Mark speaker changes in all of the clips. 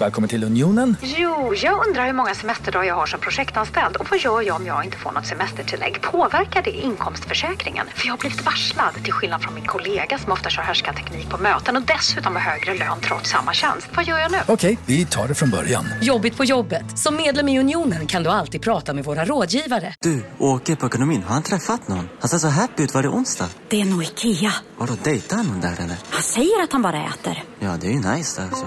Speaker 1: Välkommen till Unionen.
Speaker 2: Jo, jag undrar hur många semesterdagar jag har som projektanställd och vad gör jag om jag inte får något semestertillägg? Påverkar det inkomstförsäkringen? För jag har blivit varslad, till skillnad från min kollega som ofta kör teknik på möten och dessutom har högre lön trots samma tjänst. Vad gör jag nu?
Speaker 1: Okej, vi tar det från början.
Speaker 3: Jobbigt på jobbet. Som medlem i Unionen kan du alltid prata med våra rådgivare.
Speaker 4: Du, åker på ekonomin. Har han träffat någon? Han ser så happy ut. Var det onsdag?
Speaker 5: Det är nog Ikea.
Speaker 4: Har du dejtar han någon där eller?
Speaker 5: Han säger att han bara äter.
Speaker 4: Ja, det är ju nice där. Alltså.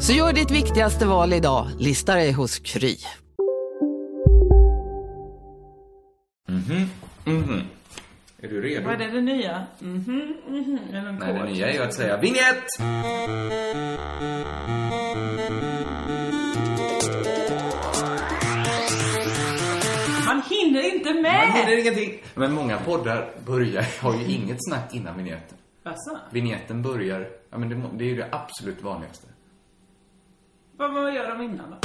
Speaker 6: Så gör ditt viktigaste val idag, listar dig hos Kry.
Speaker 7: Är du redo?
Speaker 8: Vad är det nya? Mhm, mhm. Är det en
Speaker 7: Nej, det
Speaker 8: kod? Äh!
Speaker 7: nya är ju att säga vinjett!
Speaker 8: Man hinner inte
Speaker 7: Man
Speaker 8: med!
Speaker 7: hinner ingenting. Men många poddar börjar, har ju inget snack innan vinjetten.
Speaker 8: Alltså,
Speaker 7: Vinjetten börjar, ja men det, må- det är ju det absolut vanligaste.
Speaker 8: vad, vad gör de innan då?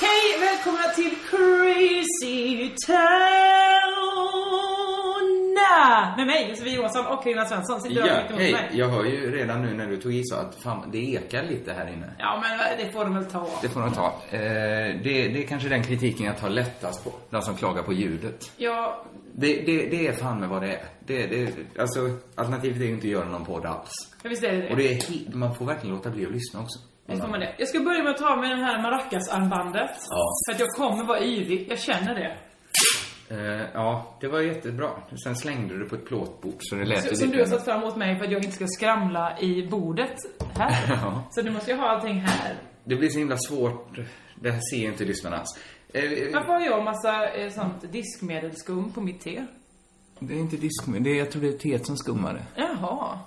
Speaker 8: Hej, välkomna till Crazy Town! Med mig, Josefin Johansson och Linda Svensson. Sitter du
Speaker 7: Ja,
Speaker 8: mitt emot
Speaker 7: hej!
Speaker 8: mig?
Speaker 7: Jag hör ju redan nu när du tog i så att fan, det ekar lite här inne.
Speaker 8: Ja, men det får de väl ta.
Speaker 7: Det får de ta. Eh, det, det är kanske den kritiken jag tar lättast på. De som klagar på ljudet.
Speaker 8: Ja,
Speaker 7: Det, det, det är fan med vad det är. Det, det, alltså, alternativet är ju inte att göra någon podd alls.
Speaker 8: jag visste det.
Speaker 7: Och det är, he- man får verkligen låta bli att lyssna också.
Speaker 8: Visst får man det. Jag ska börja med att ta med det här maracasarmbandet.
Speaker 7: Ja.
Speaker 8: För att jag kommer vara yvig. Jag känner det.
Speaker 7: Eh, ja, det var jättebra. Sen slängde du det på ett plåtbord så det lät
Speaker 8: Så,
Speaker 7: ju
Speaker 8: som
Speaker 7: lite-
Speaker 8: du har satt fram åt mig för att jag inte ska skramla i bordet här.
Speaker 7: Ja.
Speaker 8: Så nu måste jag ha allting här.
Speaker 7: Det blir så himla svårt. Det här ser ju inte lyssnarna alls. Eh, eh,
Speaker 8: Varför har jag massa eh, sånt diskmedelskum på mitt te?
Speaker 7: det är inte diskmin. Det är, jag tror det är teet som skummade.
Speaker 8: Jaha.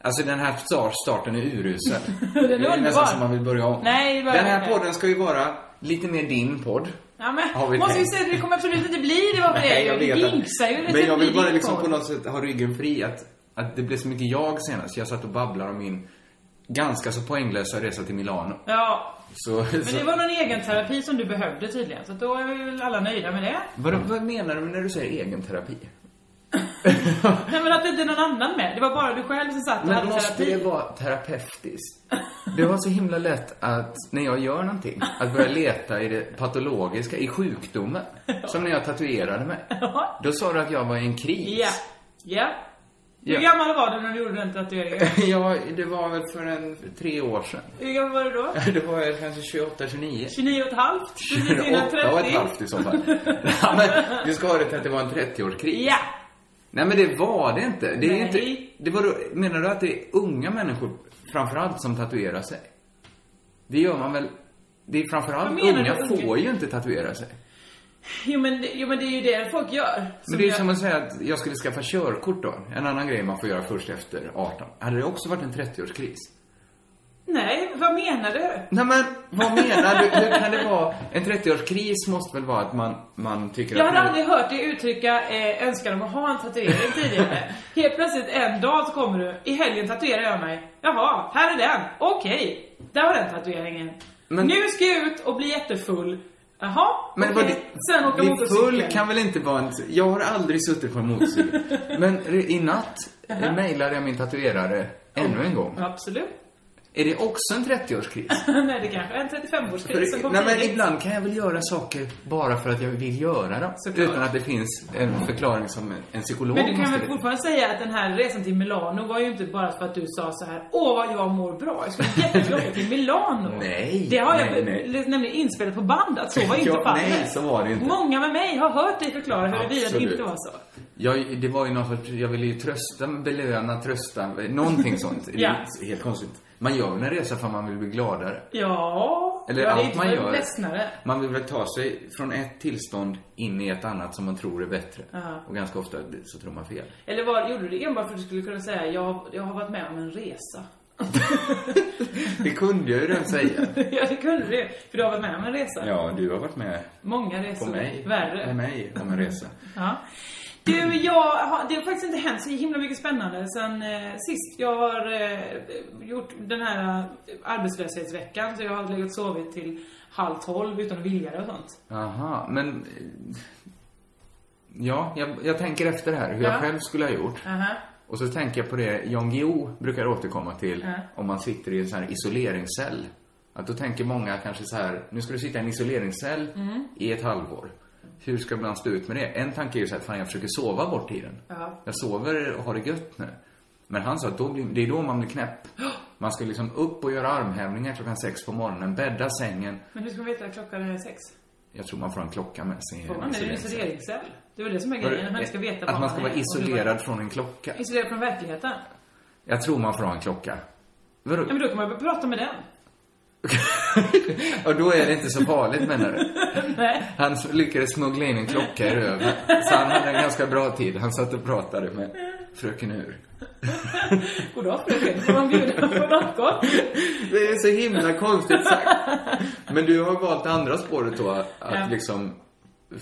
Speaker 7: Alltså den här star- starten är urusel.
Speaker 8: är
Speaker 7: det är
Speaker 8: underbar.
Speaker 7: nästan som man vill börja om.
Speaker 8: Nej, bara-
Speaker 7: Den här podden ska ju vara lite mer din podd.
Speaker 8: Ja
Speaker 7: Har vi
Speaker 8: men, måste ju
Speaker 7: tänkt?
Speaker 8: säga att det kommer absolut inte bli det var för dig.
Speaker 7: jag
Speaker 8: Du
Speaker 7: vet att-
Speaker 8: jinxar ju lite.
Speaker 7: Men jag vill
Speaker 8: blir
Speaker 7: bara
Speaker 8: din
Speaker 7: liksom
Speaker 8: podd.
Speaker 7: på något sätt ha ryggen fri. Att, att det blev så mycket jag senast. Jag satt och babblade om min ganska så poänglösa resa till Milano.
Speaker 8: Ja.
Speaker 7: Så,
Speaker 8: Men
Speaker 7: så...
Speaker 8: det var någon egen terapi som du behövde tydligen. Så då är vi väl alla nöjda med det.
Speaker 7: Vad, vad menar du när du säger egen terapi?
Speaker 8: Nej men att det inte är någon annan med. Det var bara du själv som satt och
Speaker 7: Men
Speaker 8: hade
Speaker 7: måste
Speaker 8: terapi.
Speaker 7: det vara terapeutiskt? Det var så himla lätt att, när jag gör någonting, att börja leta i det patologiska, i sjukdomen. Som när jag tatuerade mig.
Speaker 8: Ja.
Speaker 7: Då sa du att jag var i en kris.
Speaker 8: Ja. Ja. Hur
Speaker 7: Ja.
Speaker 8: gammal var du när du gjorde den tatueringen?
Speaker 7: Ja, det var väl för en, för tre år sedan.
Speaker 8: Hur gammal var du då?
Speaker 7: Det var väl kanske 28, 29.
Speaker 8: 29 och ett halvt? Precis innan 30?
Speaker 7: 28 och ett halvt i så fall. Ja, men du ska ha det till att det var en 30-årskris.
Speaker 8: Ja!
Speaker 7: Nej men det var det inte. Det är
Speaker 8: Nej.
Speaker 7: inte det var, då- menar du att det är unga människor framförallt som tatuerar sig? Det gör man väl? Det är framförallt
Speaker 8: Vad menar
Speaker 7: unga,
Speaker 8: du, unga?
Speaker 7: får ju inte tatuera sig.
Speaker 8: Jo men, det- jo men det är ju det folk gör. Som
Speaker 7: Men det är ju
Speaker 8: jag-
Speaker 7: som att säga att jag skulle skaffa körkort då. En annan grej man får göra först efter 18. Hade det också varit en 30-årskris?
Speaker 8: Nej, vad menar du?
Speaker 7: Nej men, vad menar du? Hur kan det vara? En 30-årskris måste väl vara att man, man tycker
Speaker 8: Jag
Speaker 7: att...
Speaker 8: hade
Speaker 7: nu-
Speaker 8: aldrig hört dig uttrycka eh, önskan om att ha en tatuering tidigare. Helt plötsligt en dag så kommer du, i helgen tatuerar jag mig. Jaha, här är den. Okej, där var den tatueringen.
Speaker 7: Men-
Speaker 8: Nu ska jag ut och bli jättefull. Jaha,
Speaker 7: Men
Speaker 8: okej.
Speaker 7: vad det,
Speaker 8: Sen åka
Speaker 7: bli
Speaker 8: motorcykel.
Speaker 7: full kan väl inte vara en... Jag har aldrig suttit på en motorcykel. Men re- i natt eh, mejlade jag min tatuerare ännu en gång.
Speaker 8: Absolut.
Speaker 7: Är det också en 30-årskris?
Speaker 8: Nej, det kanske är en 35-årskris som
Speaker 7: För-
Speaker 8: kommer
Speaker 7: Nej, men ibland kan jag väl göra saker bara för att jag vill göra dem.
Speaker 8: Såklart.
Speaker 7: Utan att det finns en förklaring som en- en psykolog
Speaker 8: Men du kan
Speaker 7: måste...
Speaker 8: väl fortfarande säga att den här resan till Milano var ju inte bara för att du sa så här Åh vad jag mår bra, jag skulle jättegärna åka till Milano.
Speaker 7: Nej,
Speaker 8: Det har
Speaker 7: nej,
Speaker 8: jag
Speaker 7: nej.
Speaker 8: nämligen inspelat på band att så var inte
Speaker 7: Ja,
Speaker 8: fallet.
Speaker 7: nej, så var det inte.
Speaker 8: Många med mig har hört dig förklara huruvida det
Speaker 7: Absolut.
Speaker 8: inte var så.
Speaker 7: Jag, det var ju någon sorts, jag ville ju trösta, belöna, trösta, någonting sånt. Det är
Speaker 8: Ja.
Speaker 7: helt konstigt. Man gör väl en resa för att man vill bli gladare.
Speaker 8: Ja,
Speaker 7: Eller
Speaker 8: ja, det är
Speaker 7: allt
Speaker 8: inte
Speaker 7: man
Speaker 8: för
Speaker 7: gör.
Speaker 8: ledsnare.
Speaker 7: Man vill väl ta sig från ett tillstånd in i ett annat som man tror är bättre.
Speaker 8: Ja.
Speaker 7: Och ganska ofta så tror man fel.
Speaker 8: Eller var, gjorde du det enbart för att du skulle kunna säga jag, har- jag har varit med om en resa?
Speaker 7: Det kunde jag ju redan säga.
Speaker 8: ja, det kunde du ju, För du har varit med om en resa.
Speaker 7: Ja, du har varit med
Speaker 8: Många
Speaker 7: på
Speaker 8: resor.
Speaker 7: mig.
Speaker 8: Värre.
Speaker 7: Med mig om en resa.
Speaker 8: Ja. Du, jag har, det har faktiskt inte hänt så himla mycket spännande sen eh, sist. Jag har eh, gjort den här eh, arbetslöshetsveckan, så jag har legat och sovit till halv tolv utan att vilja det och sånt.
Speaker 7: Jaha, men... eh, Ja, jag, jag tänker efter här hur
Speaker 8: Ja.
Speaker 7: jag själv skulle ha gjort.
Speaker 8: Aha.
Speaker 7: Och så tänker jag på det Jan Guillou brukar återkomma till
Speaker 8: Ja.
Speaker 7: om man sitter i en sån här isoleringscell. Att då tänker många kanske så här, nu ska du sitta i en isoleringscell
Speaker 8: Mm.
Speaker 7: i ett halvår. Hur ska man stå ut med det? En tanke är ju så här, fan jag försöker sova bort tiden.
Speaker 8: Ja.
Speaker 7: Jag sover och har det gött nu. Men han sa att då blir, det är då man blir knäpp. Man ska liksom upp och göra armhävningar klockan sex på morgonen, bädda sängen.
Speaker 8: Men hur ska man veta att klockan är sex?
Speaker 7: Jag tror man får en klocka med sig. i
Speaker 8: Får man det? Det är
Speaker 7: isoleringscell.
Speaker 8: isoleringscell. Det är väl det som är
Speaker 7: Var det-
Speaker 8: grejen, att man inte ska veta var
Speaker 7: Att man ska
Speaker 8: är
Speaker 7: vara
Speaker 8: och hur man-
Speaker 7: isolerad från en klocka.
Speaker 8: Isolerad från verkligheten.
Speaker 7: Jag tror man får ha en klocka. Vadå?
Speaker 8: Ja, men då kan man börja prata med den.
Speaker 7: Och då är det inte så farligt menar du?
Speaker 8: Nej.
Speaker 7: Han lyckades smuggla in en klocka i röven. Så han hade en ganska bra tid. Han satt och pratade med fröken Ur.
Speaker 8: Goddag fröken, får man bjuda på något gott?
Speaker 7: Det är så himla konstigt sagt. Men du har valt det andra spåret då, att
Speaker 8: Ja.
Speaker 7: liksom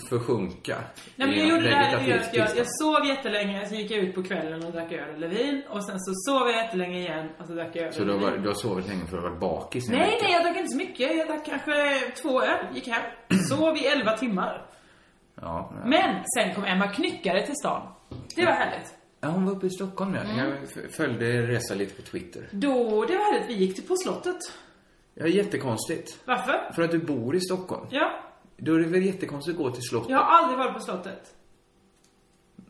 Speaker 7: försjunka.
Speaker 8: Nej, men
Speaker 7: i
Speaker 8: jag
Speaker 7: något
Speaker 8: gjorde det här
Speaker 7: vegetativt
Speaker 8: jag, jag,
Speaker 7: tillstånd.
Speaker 8: jag sov jättelänge, sen gick jag ut på kvällen och drack öl eller vin. Och sen så sov jag jättelänge igen och så drack jag öl
Speaker 7: Så du har,
Speaker 8: eller vin.
Speaker 7: varit- du har sovit länge för att ha varit bakis? i en
Speaker 8: Nej,
Speaker 7: vecka.
Speaker 8: nej, jag drack inte så mycket. Jag drack kanske två öl, gick hem, sov i elva timmar.
Speaker 7: Ja, nej.
Speaker 8: Men sen kom Emma Knyckare till stan. Det var härligt.
Speaker 7: ja, hon var uppe i Stockholm ja.
Speaker 8: Mm.
Speaker 7: Jag f- följde Resa lite på Twitter.
Speaker 8: Då, det var härligt. Vi gick till På slottet.
Speaker 7: Ja, jättekonstigt.
Speaker 8: Varför?
Speaker 7: För att du bor i Stockholm.
Speaker 8: Ja,
Speaker 7: Då är det väl jättekonstigt att gå till slottet?
Speaker 8: jag har aldrig varit på slottet.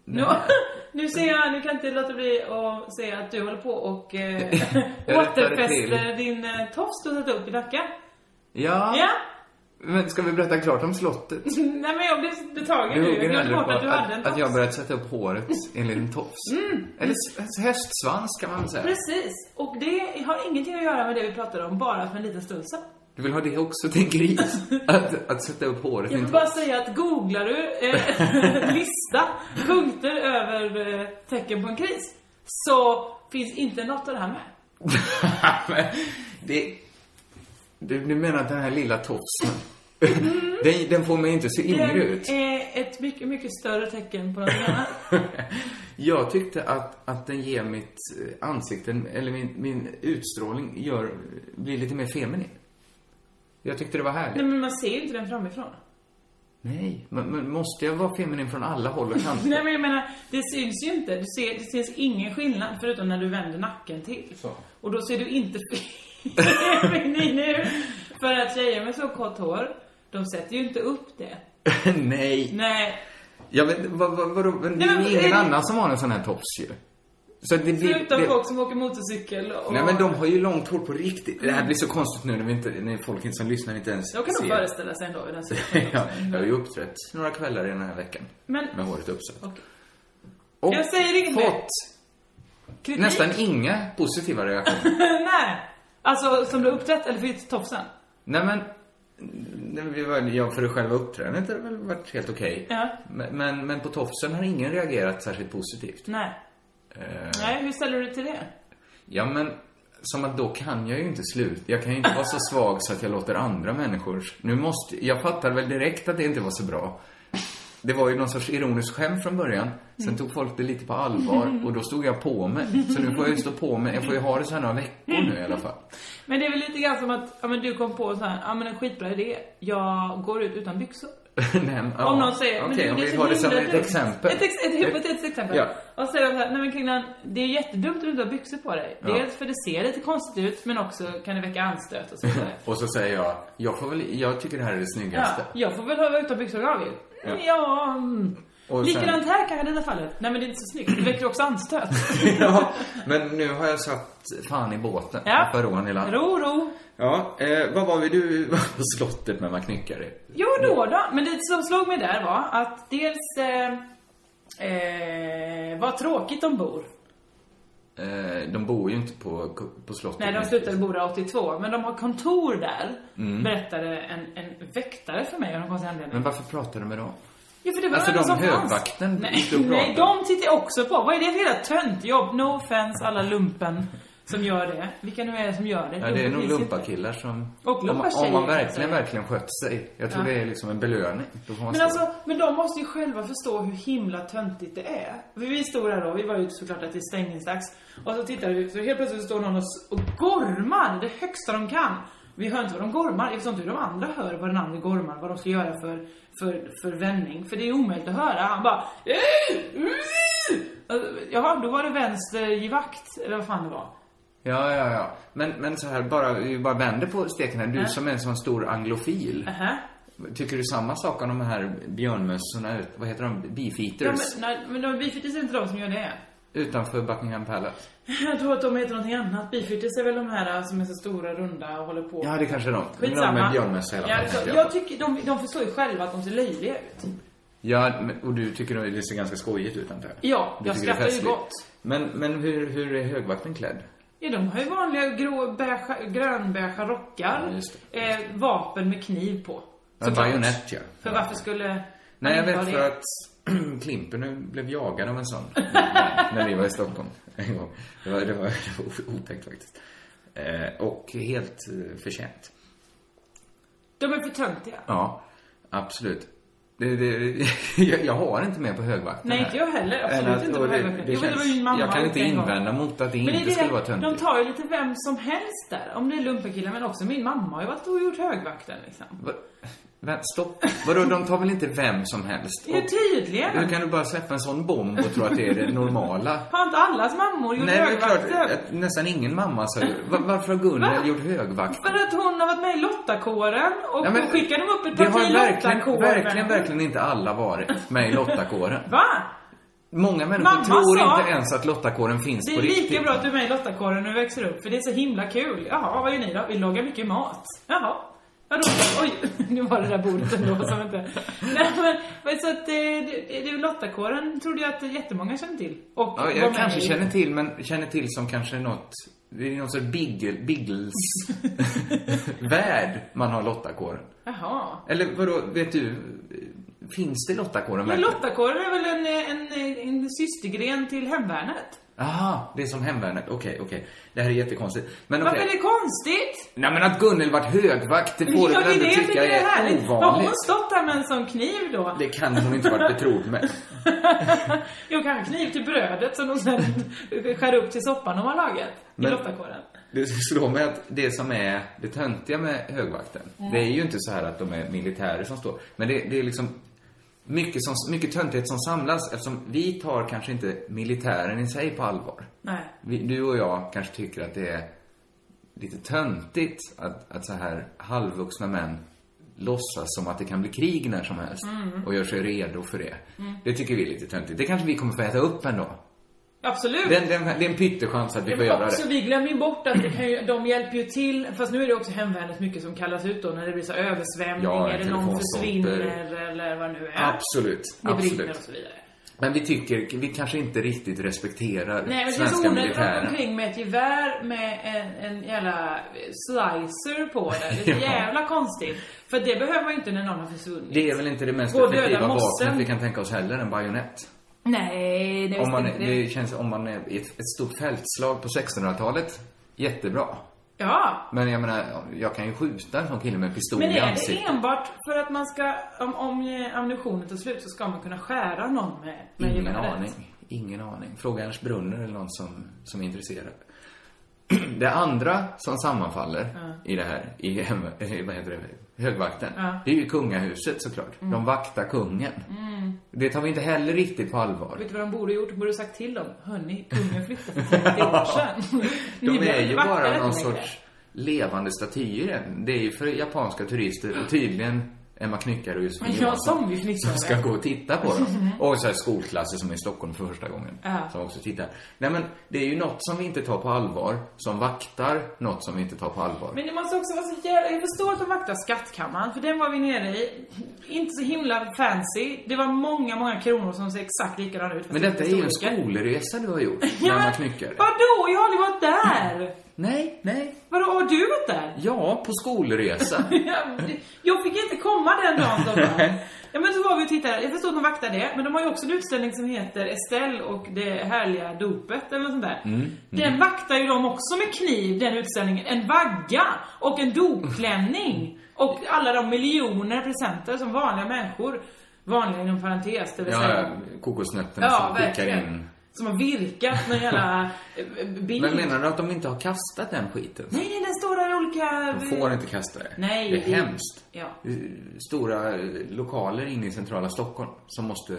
Speaker 8: Nu, nu ser jag, nu kan jag inte låta bli att se att du håller på och eh,
Speaker 7: Jag rättade
Speaker 8: återfäster din eh, tofs du har satt upp i Nacka.
Speaker 7: Ja.
Speaker 8: Ja.
Speaker 7: Men ska vi berätta klart om slottet?
Speaker 8: Nej men jag blev betagen
Speaker 7: Du
Speaker 8: nu.
Speaker 7: hugger
Speaker 8: Jag glömde
Speaker 7: hellre
Speaker 8: bort
Speaker 7: på
Speaker 8: att du hade en
Speaker 7: att, att
Speaker 8: tofs. Mm.
Speaker 7: jag börjat sätta upp håret i en liten tofs. Eller s- hästsvans kan man väl säga.
Speaker 8: Precis. Och det har ingenting att göra med det vi pratade om bara för en liten stund sedan.
Speaker 7: Du vill ha det också till en gris? Att, att sätta upp håret i
Speaker 8: Jag
Speaker 7: en
Speaker 8: vill
Speaker 7: tofs.
Speaker 8: bara säga att googlar du eh, lista punkter över eh, tecken på en kris så finns inte något av det här med.
Speaker 7: Men det... Du, du menar att den här lilla tofsen, den, den får mig inte se yngre ut.
Speaker 8: Det Mm. är ett mycket, mycket större tecken på något annat.
Speaker 7: Jag tyckte att, att den ger mitt eh, ansikte, eller min, min utstrålning, gör, blir lite mer feminin. Jag tyckte det var härligt.
Speaker 8: Nej men man ser ju inte den framifrån.
Speaker 7: Nej, men, men måste jag vara feminin från alla håll och kanter?
Speaker 8: Nej men jag menar, det syns ju inte. Du ser, det syns ingen skillnad förutom när du vänder nacken till.
Speaker 7: Så.
Speaker 8: Och då ser du inte feminin ut. För att tjejer med så kort hår, de sätter ju inte upp det.
Speaker 7: Nej.
Speaker 8: Nej.
Speaker 7: Jag vet, vad, vad, vadå? Men det är
Speaker 8: men-
Speaker 7: ju ingen
Speaker 8: eh,
Speaker 7: annan som har en sån här tops ju. Så det blir...
Speaker 8: Förutom
Speaker 7: det,
Speaker 8: folk som åker motorcykel och...
Speaker 7: Nej men de har ju långt hår på riktigt. Det här blir så konstigt nu när, vi inte, när folk inte- som lyssnar inte ens
Speaker 8: De kan nog
Speaker 7: ser.
Speaker 8: föreställa sig ändå hur den ser ut.
Speaker 7: ja, jag har ju uppträtt några kvällar i den här veckan.
Speaker 8: Men-
Speaker 7: Med håret uppsatt.
Speaker 8: Okej.
Speaker 7: Och
Speaker 8: Jag säger inget mer.
Speaker 7: fått
Speaker 8: Kritik?
Speaker 7: nästan inga positiva reaktioner.
Speaker 8: Nej. Alltså, som du uppträtt eller fick tofsen?
Speaker 7: Nej men, nej, men vi var, jag för det själva uppträdandet har det väl varit helt okej.
Speaker 8: Ja.
Speaker 7: Men, men, men på tofsen har ingen reagerat särskilt positivt.
Speaker 8: Nej.
Speaker 7: Eh.
Speaker 8: Nej, hur ställer du dig till det?
Speaker 7: Ja, men som att då kan jag ju inte slut. Jag kan ju inte vara så svag så att jag låter andra människors... Nu måste... Jag fattar väl direkt att det inte var så bra. Det var ju någon sorts ironisk skämt från början. Sen tog folk det lite på allvar och då stod jag på mig. Så nu får jag ju stå på mig. Jag får ju ha det så här några veckor nu i alla fall.
Speaker 8: Men det är väl lite grann som att, ja men du kom på så här, ja men en skitbra idé, jag går ut utan byxor.
Speaker 7: Nej, men, ja.
Speaker 8: Om någon säger,
Speaker 7: Okej,
Speaker 8: men
Speaker 7: om
Speaker 8: du, det är
Speaker 7: vi
Speaker 8: så
Speaker 7: har det som
Speaker 8: himla
Speaker 7: ett
Speaker 8: dumt.
Speaker 7: exempel. Typ.
Speaker 8: Ett, ex, ett hypotetiskt exempel.
Speaker 7: Ja.
Speaker 8: Och säger de så här, nej men Kringlan, det är jättedumt om du inte har byxor på dig.
Speaker 7: Ja.
Speaker 8: Dels för det ser lite konstigt ut, men också kan det väcka anstöt och så vidare.
Speaker 7: Och så säger jag, jag får väl... Jag tycker det här är det
Speaker 8: ja,
Speaker 7: snyggaste.
Speaker 8: jag får väl vara utan byxor jag vill.
Speaker 7: Ja.
Speaker 8: Ja. ja mm.
Speaker 7: Och sen-
Speaker 8: Likadant här kanske i detta fallet. Nej men det är inte så snyggt, det väcker också anstöt.
Speaker 7: Ja, men nu har jag satt fan i båten.
Speaker 8: Ja.
Speaker 7: För rån i land.
Speaker 8: Ro, ro.
Speaker 7: Ja, eh, vad var vi du var på slottet med McNickare?
Speaker 8: Jo då, då. Men det som slog mig där var att dels eh, eh, vad tråkigt de bor.
Speaker 7: Eh, de bor ju inte på, på slottet.
Speaker 8: Nej, de slutade bo där 82, men de har kontor där, berättade en, en väktare för mig av någon konstig anledning.
Speaker 7: Mm. Men varför pratar de med dem?
Speaker 8: Ja, för det var
Speaker 7: Alltså,
Speaker 8: det enda
Speaker 7: de
Speaker 8: som fanns.
Speaker 7: högvakten
Speaker 8: Nej,
Speaker 7: stod och
Speaker 8: nej,
Speaker 7: pratade.
Speaker 8: de tittar jag också på. Vad är det för jävla töntjobb? No offense alla lumpen som gör det. Vilka nu är det som gör det?
Speaker 7: Ja, det är nog
Speaker 8: finns ju
Speaker 7: lumparkillar som...
Speaker 8: Och
Speaker 7: om, om
Speaker 8: lumpartjejer,
Speaker 7: man verkligen,
Speaker 8: alltså.
Speaker 7: verkligen skött sig. Jag tror
Speaker 8: Ja.
Speaker 7: det är liksom en belöning. Då får man
Speaker 8: Men
Speaker 7: stå.
Speaker 8: alltså, men de måste ju själva förstå hur himla töntigt det är. För vi stod där då, vi var ju såklart att det är stängningsdags. Och så tittade vi, så helt plötsligt står någon och, s- och gormar det högsta de kan. Vi hör inte vad de gormar, jag förstår inte hur de andra hör vad den andra gormar, vad de ska göra för, för, för vändning. För det är omöjligt att höra. Han bara "Eh, eh." Alltså, Jaha, då var det vänstergivakt, eller vad fan det var.
Speaker 7: Ja, ja, ja. Men, men så här, bara, vi bara vänder på steken här. Du som är en sån stor anglofil.
Speaker 8: Nähä.
Speaker 7: Tycker du samma sak om de här björnmössorna, ut- vad heter de,
Speaker 8: Ja,
Speaker 7: beefeaters?
Speaker 8: men, nej, men de beefeaters är inte de som gör det.
Speaker 7: Utanför Buckingham Palace?
Speaker 8: Jag tror att de heter någonting annat. Beefeaters är väl de här äh, som är så stora, runda och håller på.
Speaker 7: Ja, det kanske är de. Men De
Speaker 8: Skitsamma.
Speaker 7: med björnmössa hela
Speaker 8: ja,
Speaker 7: tiden,
Speaker 8: så,
Speaker 7: ja.
Speaker 8: jag tycker, de, de förstår ju själva att de ser löjliga ut.
Speaker 7: Ja, men- och du tycker nog det ser ganska skojigt ut antar jag?
Speaker 8: Ja,
Speaker 7: Du
Speaker 8: jag
Speaker 7: tycker det är
Speaker 8: skrattar ju
Speaker 7: festligt.
Speaker 8: gott.
Speaker 7: Men, men hur, hur är högvakten klädd?
Speaker 8: Ja, de har ju vanliga grå, beige, grönbeiga
Speaker 7: Ja,
Speaker 8: rockar.
Speaker 7: just
Speaker 8: eh, vapen med kniv på.
Speaker 7: En
Speaker 8: Såklart.
Speaker 7: bajonett, ja.
Speaker 8: För varför skulle...
Speaker 7: Nej, jag
Speaker 8: man inte
Speaker 7: vet
Speaker 8: ha
Speaker 7: för
Speaker 8: det?
Speaker 7: att Klimpen nu blev jagad av en sån. när vi var i Stockholm en gång. Det var, det var, det var otäckt faktiskt. Eh, och helt eh, förtjänt.
Speaker 8: De är för töntiga.
Speaker 7: Ja, absolut. Det, det, jag, jag har inte med på högvakten
Speaker 8: Nej,
Speaker 7: här.
Speaker 8: inte jag heller. Absolut
Speaker 7: Än att-
Speaker 8: inte på
Speaker 7: och det-
Speaker 8: högvakten.
Speaker 7: det
Speaker 8: Jo, men det
Speaker 7: känns-
Speaker 8: var ju min mamma
Speaker 7: Jag kan inte
Speaker 8: en gång.
Speaker 7: invända mot att det
Speaker 8: Men det är
Speaker 7: inte
Speaker 8: det,
Speaker 7: skulle vara töntigt.
Speaker 8: de tar ju lite vem som helst där. Om det är lumparkillar, men också min mamma har ju varit och gjort högvakten liksom.
Speaker 7: Va- Vä- Stopp. Vadå, de tar väl inte vem som helst?
Speaker 8: Ja, tydligen.
Speaker 7: Hur kan du bara släppa en sån bomb och tro att det är det normala?
Speaker 8: Har inte allas mammor gjort
Speaker 7: Nej, det är klart
Speaker 8: högvakten?
Speaker 7: att nästan ingen mamma sa ju, "Va- varför har Gunnel
Speaker 8: Va?
Speaker 7: gjort högvakt?
Speaker 8: För att hon har varit med i Lottakåren och
Speaker 7: Ja, men-
Speaker 8: då skickade de upp ett
Speaker 7: Det
Speaker 8: parti
Speaker 7: har verkligen,
Speaker 8: Lottakåren.
Speaker 7: verkligen, verkligen inte alla varit med i Lottakåren.
Speaker 8: Va?
Speaker 7: Många människor
Speaker 8: Mamma
Speaker 7: tror
Speaker 8: sa-
Speaker 7: inte ens att Lottakåren finns
Speaker 8: Det är
Speaker 7: på
Speaker 8: lika
Speaker 7: riktigt.
Speaker 8: bra att du är med i Lottakåren när du växer upp, för det är så himla kul. Jaha, vad gör ni då? Vi lagar mycket mat. Jaha. Vadå? Oj, nu var det där bordet ändå som inte... Nej men, men så att eh, det, det, det är Lottakåren trodde jag att jättemånga känner till. Och
Speaker 7: Ja,
Speaker 8: var
Speaker 7: jag
Speaker 8: med
Speaker 7: kanske
Speaker 8: i-
Speaker 7: känner till, men känner till som kanske något... Det är någon sorts bigel, Biggles-värld man har Lottakåren.
Speaker 8: Jaha.
Speaker 7: Eller vadå, vet du? Finns det Lottakåren
Speaker 8: Men
Speaker 7: verkligen?
Speaker 8: Lottakåren är väl en, eh, en, eh, en systergren till Hemvärnet?
Speaker 7: Aha, det är som hemvärnet. Okej, okej. Det här är jättekonstigt. Men okej.
Speaker 8: Varför är det konstigt?
Speaker 7: Nej men att Gunnel varit högvakt, det får du
Speaker 8: Ja,
Speaker 7: väl ändå
Speaker 8: det är det jag
Speaker 7: tycka
Speaker 8: tycker är
Speaker 7: är
Speaker 8: härligt. Har hon
Speaker 7: ovanligt?
Speaker 8: stått där med en sån kniv då?
Speaker 7: Det kan hon inte varit betrodd med.
Speaker 8: Jag kan ha kniv till brödet som de sen skär upp till soppan de har lagat
Speaker 7: Men-
Speaker 8: i lottakåren.
Speaker 7: Det slår mig att det som är det töntiga med högvakten, det är ju inte så här att de är militärer som står, men det, det är liksom mycket, som, mycket töntighet som samlas eftersom vi tar kanske inte militären i sig på allvar.
Speaker 8: Nej.
Speaker 7: Vi, du och jag kanske tycker att det är lite töntigt att, att så här halvvuxna män låtsas som att det kan bli krig när som helst
Speaker 8: Mm.
Speaker 7: och gör sig redo för det. Det tycker vi är lite töntigt. Det kanske vi kommer få äta upp ändå.
Speaker 8: Absolut.
Speaker 7: Den, den, det är en pyttechans att vi får göra
Speaker 8: också,
Speaker 7: det.
Speaker 8: vi glömmer ju bort att det kan ju, de hjälper ju till. Fast nu är det också hemvärnet mycket som kallas ut då när det blir så översvämning
Speaker 7: Ja,
Speaker 8: eller någon
Speaker 7: telefonstolper.
Speaker 8: försvinner eller vad det nu är.
Speaker 7: Absolut,
Speaker 8: Det brinner och
Speaker 7: absolut.
Speaker 8: så vidare.
Speaker 7: Men vi tycker, vi kanske inte riktigt respekterar
Speaker 8: Nej men det känns
Speaker 7: svenska
Speaker 8: onödigt att gå
Speaker 7: militären.
Speaker 8: omkring med ett gevär med en, en jävla slicer på det. Det är så
Speaker 7: Ja.
Speaker 8: jävla konstigt. För det behöver man ju inte när någon har försvunnit.
Speaker 7: Det är väl inte det mest
Speaker 8: Gå och döda
Speaker 7: effektiva
Speaker 8: mossen.
Speaker 7: vapnet vi kan tänka oss heller, en bajonett.
Speaker 8: Nej, det
Speaker 7: Om man,
Speaker 8: inte.
Speaker 7: det känns, om man är i ett, ett stort fältslag på 1600-talet, jättebra.
Speaker 8: Ja.
Speaker 7: Men jag menar, jag kan ju skjuta en sån kille med en pistol i
Speaker 8: Men är det
Speaker 7: ansiktet.
Speaker 8: enbart för att man ska, om, om eh, ammunitionen tar slut så ska man kunna skära någon med, med
Speaker 7: Ingen
Speaker 8: geväret?
Speaker 7: aning. Ingen aning. Fråga Ernst Brunner eller någon som, som är intresserad. Det andra som sammanfaller i det här, i, hem- eh, vad heter det, högvakten, det är ju kungahuset såklart.
Speaker 8: Mm.
Speaker 7: De vaktar kungen. Det tar vi inte heller riktigt på allvar.
Speaker 8: Vet du vad de borde gjort? De borde sagt till dem. Hörni, kungen flyttade för 30 år sedan. Ni
Speaker 7: De är
Speaker 8: behöver
Speaker 7: ju
Speaker 8: vakta
Speaker 7: bara
Speaker 8: detta
Speaker 7: någon
Speaker 8: längre.
Speaker 7: sorts levande statyer. Det är ju för japanska turister och tydligen Emma Knyckare och Josefin
Speaker 8: Men jag som vi
Speaker 7: som
Speaker 8: fnissade.
Speaker 7: ska gå och titta på dem. Och så här skolklasser som är i Stockholm för första gången.
Speaker 8: Mm. Ja.
Speaker 7: Som också tittar. Nej men, det är ju något som vi inte tar på allvar. Som vaktar något som vi inte tar på allvar.
Speaker 8: Men det måste också vara så jävla... Jag förstår att de vaktar skattkammaren, för den var vi nere i. Inte så himla fancy. Det var många, många kronor som ser exakt likadana ut. fast
Speaker 7: Men
Speaker 8: det
Speaker 7: detta är ju en
Speaker 8: storlekar.
Speaker 7: skolresa du har gjort,
Speaker 8: Ja,
Speaker 7: när man
Speaker 8: men
Speaker 7: knycker.
Speaker 8: Vadå? Jag har aldrig varit där!
Speaker 7: Nej, nej.
Speaker 8: Vadå, har du varit där?
Speaker 7: Ja, på skolresa.
Speaker 8: Jag- Jag fick inte komma den dagen de var. Ja men så var vi och tittade, jag förstår att de vaktar det, men de har ju också en utställning som heter Estelle och det härliga dopet eller något sånt där.
Speaker 7: Mm,
Speaker 8: Den vaktar ju de också med kniv, den utställningen. En vagga och en dopklänning. Och alla de miljoner presenter som vanliga människor, vanliga inom parentes, det vill
Speaker 7: Ja,
Speaker 8: säga.
Speaker 7: ja, kokosnötterna
Speaker 8: Ja,
Speaker 7: som skickar
Speaker 8: verkligen.
Speaker 7: in.
Speaker 8: Som har virkat med hela eh, bild.
Speaker 7: Men menar du att de inte har kastat den skiten?
Speaker 8: Nej, nej, den står där i olika...
Speaker 7: De får inte kasta det.
Speaker 8: Nej,
Speaker 7: det är
Speaker 8: det-
Speaker 7: hemskt.
Speaker 8: ja.
Speaker 7: Stora eh, lokaler inne i centrala Stockholm som måste...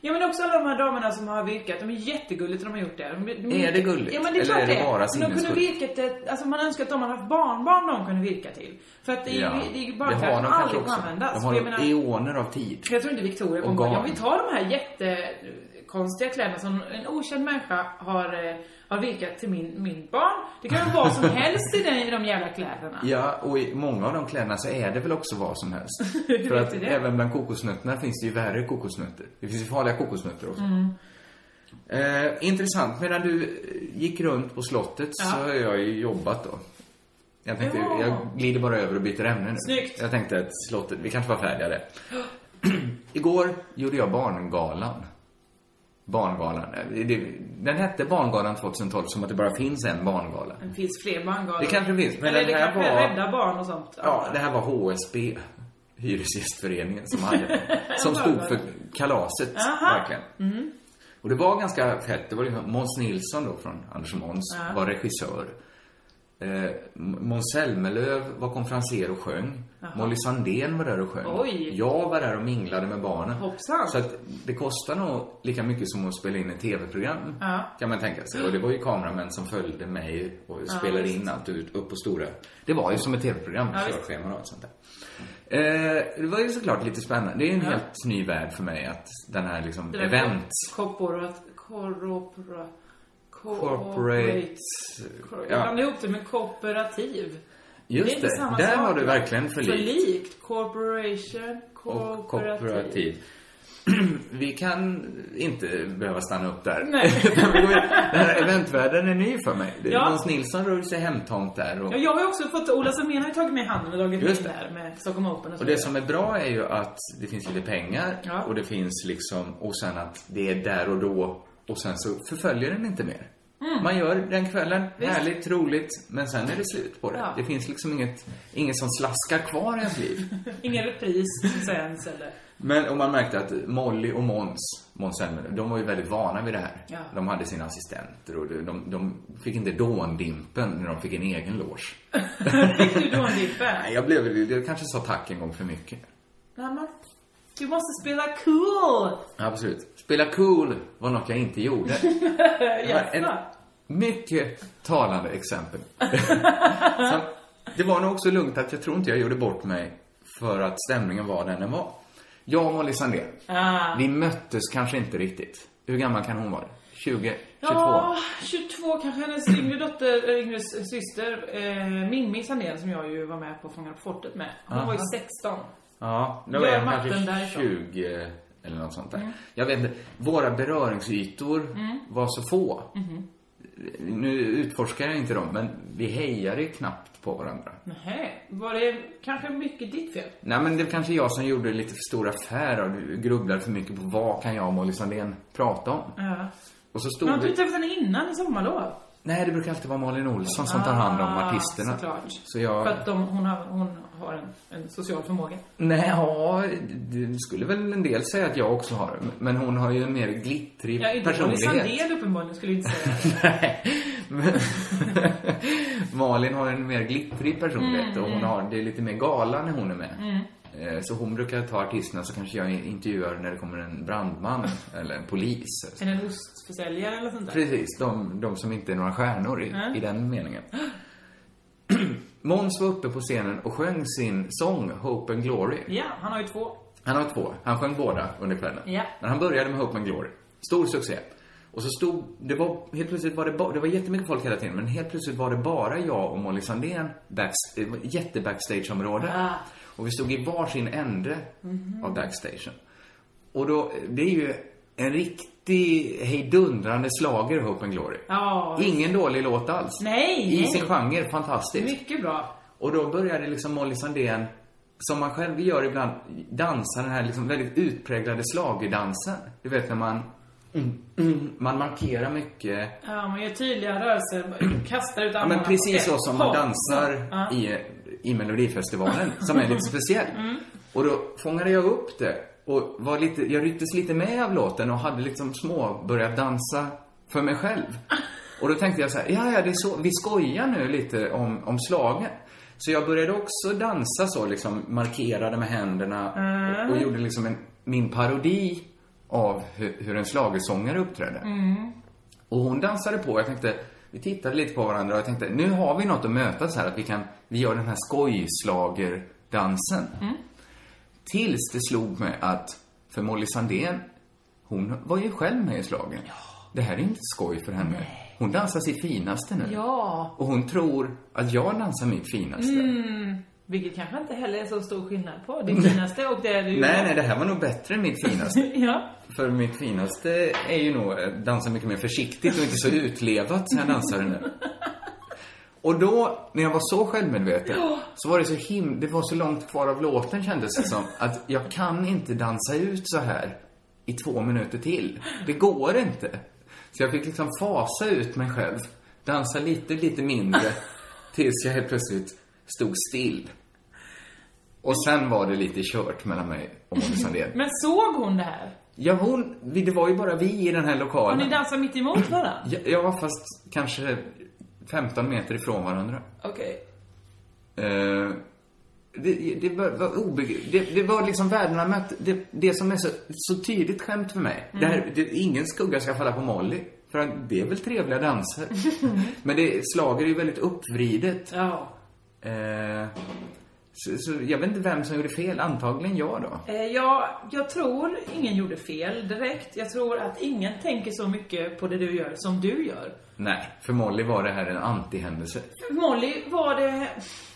Speaker 8: Ja men också alla de här damerna som har virkat, de är jättegulligt att de har gjort det. De, de,
Speaker 7: Är det gulligt?
Speaker 8: Ja men det är
Speaker 7: Eller
Speaker 8: klart
Speaker 7: är det bara
Speaker 8: Men de kunde
Speaker 7: sinnessjukt?
Speaker 8: virkat det, alltså man önskar att de hade haft barnbarn de kunde virka till. För att det är ju det är ju bara
Speaker 7: har
Speaker 8: som
Speaker 7: de kanske
Speaker 8: aldrig
Speaker 7: också.
Speaker 8: kommer användas.
Speaker 7: De
Speaker 8: För
Speaker 7: har
Speaker 8: jag, menar,
Speaker 7: eoner av tid.
Speaker 8: för jag tror inte Victoria kommer
Speaker 7: Organ.
Speaker 8: bara, om vi tar de här jättekonstiga kläderna som en okänd människa har, eh, har virkat till min, min barn. Det kan vara vad som helst i den- i de jävla kläderna.
Speaker 7: Ja, och i många av de kläderna så är det väl också vad som helst.
Speaker 8: Hur
Speaker 7: För
Speaker 8: vet
Speaker 7: att
Speaker 8: du det?
Speaker 7: även bland kokosnötterna finns det ju värre kokosnötter. Det finns ju farliga kokosnötter också.
Speaker 8: Mm.
Speaker 7: Eh, intressant. Medan du eh, gick runt på slottet så
Speaker 8: Ja.
Speaker 7: har jag ju jobbat då. Jag tänkte,
Speaker 8: Ja.
Speaker 7: jag glider bara över och byter ämne nu.
Speaker 8: Snyggt.
Speaker 7: Jag tänkte att slottet, vi kanske var färdiga där. Igår gjorde jag Barngalan. Barngalan. eh, det- Den hette Barngalan 2012 som att det bara finns en barngala.
Speaker 8: Det finns fler barngalor.
Speaker 7: Det kanske finns, men
Speaker 8: Eller
Speaker 7: den
Speaker 8: det
Speaker 7: här
Speaker 8: kanske är
Speaker 7: var-
Speaker 8: rädda barn och sånt.
Speaker 7: Ja, det här var HSB, Hyresgästföreningen, som hade den. Som stod för kalaset,
Speaker 8: Aha. Mm.
Speaker 7: verkligen. Och det var ganska fett. Det var liksom Måns Nilsson då, från Anders och Måns, var regissör. Eh, Måns Zelmerlöw var konferenser och sjöng. Molly Sandén var där och sjöng.
Speaker 8: Oj.
Speaker 7: Jag var där och minglade med barnen.
Speaker 8: Hoppsan.
Speaker 7: Så att det kostar nog lika mycket som att spela in ett tv-program, kan man tänka sig. Och det var ju kameramän som följde mig och spelade in allt ut, upp på stora. Det var ju som ett tv-program, körschema och allt sånt där. Eh, det var ju såklart lite spännande. Det är ju en helt ny värld för mig att den här liksom
Speaker 8: Det där
Speaker 7: event...
Speaker 8: Corporate... Corpora...
Speaker 7: Corporate...
Speaker 8: Corporate. Jag
Speaker 7: Ja,
Speaker 8: blandade ihop det med kooperativ. är
Speaker 7: just
Speaker 8: inte
Speaker 7: det.
Speaker 8: samma
Speaker 7: Där
Speaker 8: sak,
Speaker 7: var du
Speaker 8: va?
Speaker 7: verkligen för lik.
Speaker 8: Förlikt. Corporation.
Speaker 7: Och
Speaker 8: Kooperativ.
Speaker 7: kooperativ. Vi kan inte behöva stanna upp där.
Speaker 8: Nej.
Speaker 7: Utan vi går vidare. Den här eventvärlden är ny för mig.
Speaker 8: Ja.
Speaker 7: Ja. Måns Nilsson rör sig hemtomt där. Och,
Speaker 8: Ja, jag har ju också fått... Ola Salmén har ju tagit med handen och dragit
Speaker 7: Just
Speaker 8: in det här med Stockholm Open och så
Speaker 7: och det
Speaker 8: vidare.
Speaker 7: som är bra är ju att det finns lite pengar
Speaker 8: Ja.
Speaker 7: och det finns liksom, och sen att det är där och då och sen så förföljer den inte mer.
Speaker 8: Mm.
Speaker 7: Man gör den kvällen, härligt, roligt, men sen är det slut på det.
Speaker 8: Ja.
Speaker 7: Det finns liksom inget, inget som slaskar kvar i ens liv.
Speaker 8: Ingen repris som sänds eller...
Speaker 7: Men och man märkte att Molly och Måns, Måns Zelmerlöw, de var ju väldigt vana vid det här.
Speaker 8: Ja.
Speaker 7: De hade sina assistenter och de, de, de fick inte dåndimpen när de fick en egen loge.
Speaker 8: Fick du då en dippe?
Speaker 7: Nej, jag blev väl- jag kanske sa tack en gång för mycket.
Speaker 8: Nej, men... Du måste spela cool!
Speaker 7: Absolut. Spela cool var något jag inte gjorde. Det var
Speaker 8: Jaså?
Speaker 7: mycket talande exempel. Så, det var nog också lugnt att jag tror inte jag gjorde bort mig för att stämningen var den den var. Jag och Molly Sandén,
Speaker 8: Ah.
Speaker 7: vi möttes kanske inte riktigt. Hur gammal kan hon vara? 20? 22?
Speaker 8: Ja, 22 kanske. Hennes yngre dotter, eller yngre s- syster, eh, Mimmi Sandén som jag ju var med på Fångarna på fortet med. Hon var ju 16.
Speaker 7: Ja, då
Speaker 8: Gör
Speaker 7: är han
Speaker 8: matten
Speaker 7: kanske
Speaker 8: därifrån. Mm.
Speaker 7: 20 eller något sånt där. Jag vet inte. Våra beröringsytor var så få.
Speaker 8: Mm-hmm.
Speaker 7: Nu utforskar jag inte dem, men vi hejade ju knappt på varandra.
Speaker 8: Nej, var det kanske mycket ditt fel?
Speaker 7: Nej, men det var kanske jag som gjorde lite för stor affär och grubblade för mycket på vad kan jag och Molly Sandén prata om.
Speaker 8: Ja.
Speaker 7: Och så
Speaker 8: Men
Speaker 7: stod
Speaker 8: har inte du
Speaker 7: det...
Speaker 8: träffat henne innan i sommarlov?
Speaker 7: Nej, det brukar alltid vara Malin Olsson som tar hand om artisterna.
Speaker 8: Ah, såklart.
Speaker 7: Så jag...
Speaker 8: För att de, hon har, hon har en, en social förmåga.
Speaker 7: Nej, ja, det skulle väl en del säga att jag också har. Men hon har ju en mer glittrig
Speaker 8: Ja, inte Molly
Speaker 7: personlighet.
Speaker 8: Sandén uppenbarligen skulle jag inte säga. det.
Speaker 7: Nej. Men Malin har en mer glittrig personlighet
Speaker 8: Mm,
Speaker 7: och hon har, det är lite mer gala när hon är med. Eh, Så hon brukar ta artisterna så kanske jag intervjuar när det kommer en brandman eller en polis.
Speaker 8: Sen en ostförsäljare eller sånt där.
Speaker 7: Precis, de, de som inte är några stjärnor i, i den meningen. Måns var uppe på scenen och sjöng sin sång Hope and Glory.
Speaker 8: Ja, han har ju två.
Speaker 7: Han har två. Han sjöng båda under kvällen.
Speaker 8: Ja.
Speaker 7: Men han började med Hope and Glory. Stor succé. Och så stod, det var, helt plötsligt var det, ba, det var jättemycket folk hela tiden, men helt plötsligt var det bara jag och Molly Sandén, backs, eh, jättebackstageområde. Och vi stod i varsin ände
Speaker 8: Mhm.
Speaker 7: av backstagen. Och då, det är ju en riktig hejdundrande slager Hope and Glory.
Speaker 8: Ja.
Speaker 7: Ingen dålig låt alls.
Speaker 8: Nej,
Speaker 7: I
Speaker 8: nej.
Speaker 7: sin genre, fantastiskt.
Speaker 8: Mycket bra.
Speaker 7: Och då började liksom Molly Sandén, som man själv gör ibland, dansa den här liksom väldigt utpräglade schlagerdansen. Du vet när man, mm, mm, man markerar mycket.
Speaker 8: Ja, man gör tydliga rörelser, kastar ut
Speaker 7: Ja,
Speaker 8: armarna.
Speaker 7: men precis så
Speaker 8: Ett
Speaker 7: som man
Speaker 8: hopp.
Speaker 7: dansar
Speaker 8: Ja. Mm.
Speaker 7: i, i Melodifestivalen, som är lite speciell. Och då fångade jag upp det och var lite, jag rycktes lite med av låten och hade liksom små, börjat dansa för mig själv. Och då tänkte jag så här, ja, ja, det är så, vi skojar nu lite om, om slagen. Så jag började också dansa så, liksom markerade med händerna
Speaker 8: Mm.
Speaker 7: och, och gjorde liksom en, min parodi av hur, hur en schlagersångare uppträdde.
Speaker 8: Mm.
Speaker 7: Och hon dansade på. Jag tänkte, vi tittade lite på varandra och jag tänkte, nu har vi något att mötas här. Att vi kan, vi gör den här skojslagerdansen. Tills det slog mig att, för Molly Sandén, hon var ju själv med i slagen. Det här är inte skoj för henne. Hon dansar sitt finaste nu.
Speaker 8: Ja,
Speaker 7: Och hon tror att jag dansar mitt finaste.
Speaker 8: vilket kanske inte heller är så stor skillnad på det finaste och det du
Speaker 7: Nej, nej, det här var nog bättre än mitt finaste.
Speaker 8: Ja.
Speaker 7: För mitt finaste är ju nog att dansa mycket mer försiktigt och inte så utlevat som jag dansar nu. Och då, när jag var så självmedveten, så var det så him... Det var så långt kvar av låten kändes det som. Att jag kan inte dansa ut så här i två minuter till. Det går inte. Så jag fick liksom fasa ut mig själv. Dansa lite, lite mindre. Tills jag helt plötsligt stod still. Och sen var det lite kört mellan mig och Molly Sandén.
Speaker 8: Men såg hon det här?
Speaker 7: Ja, hon, vi- det var ju bara vi i den här
Speaker 8: Och ni
Speaker 7: lokalen.
Speaker 8: dansar mitt emot varandra?
Speaker 7: Ja, ja, fast kanske 15 meter ifrån varandra.
Speaker 8: Okej.
Speaker 7: Eh, det, det var, var obegripligt. Det, det var liksom världarna mötte. Det, det som är så, så tydligt skämt för mig. Det här, det, ingen skugga ska falla på Molly. För att det är väl trevliga danser. Men det, slager är ju väldigt uppvridet.
Speaker 8: Ja.
Speaker 7: Eh, så, så jag vet inte vem som gjorde fel. Antagligen jag då.
Speaker 8: Eh, Ja, jag tror ingen gjorde fel direkt. Jag tror att ingen tänker så mycket på det du gör som du gör.
Speaker 7: Nej, för Molly var det här en antihändelse.
Speaker 8: För Molly var det...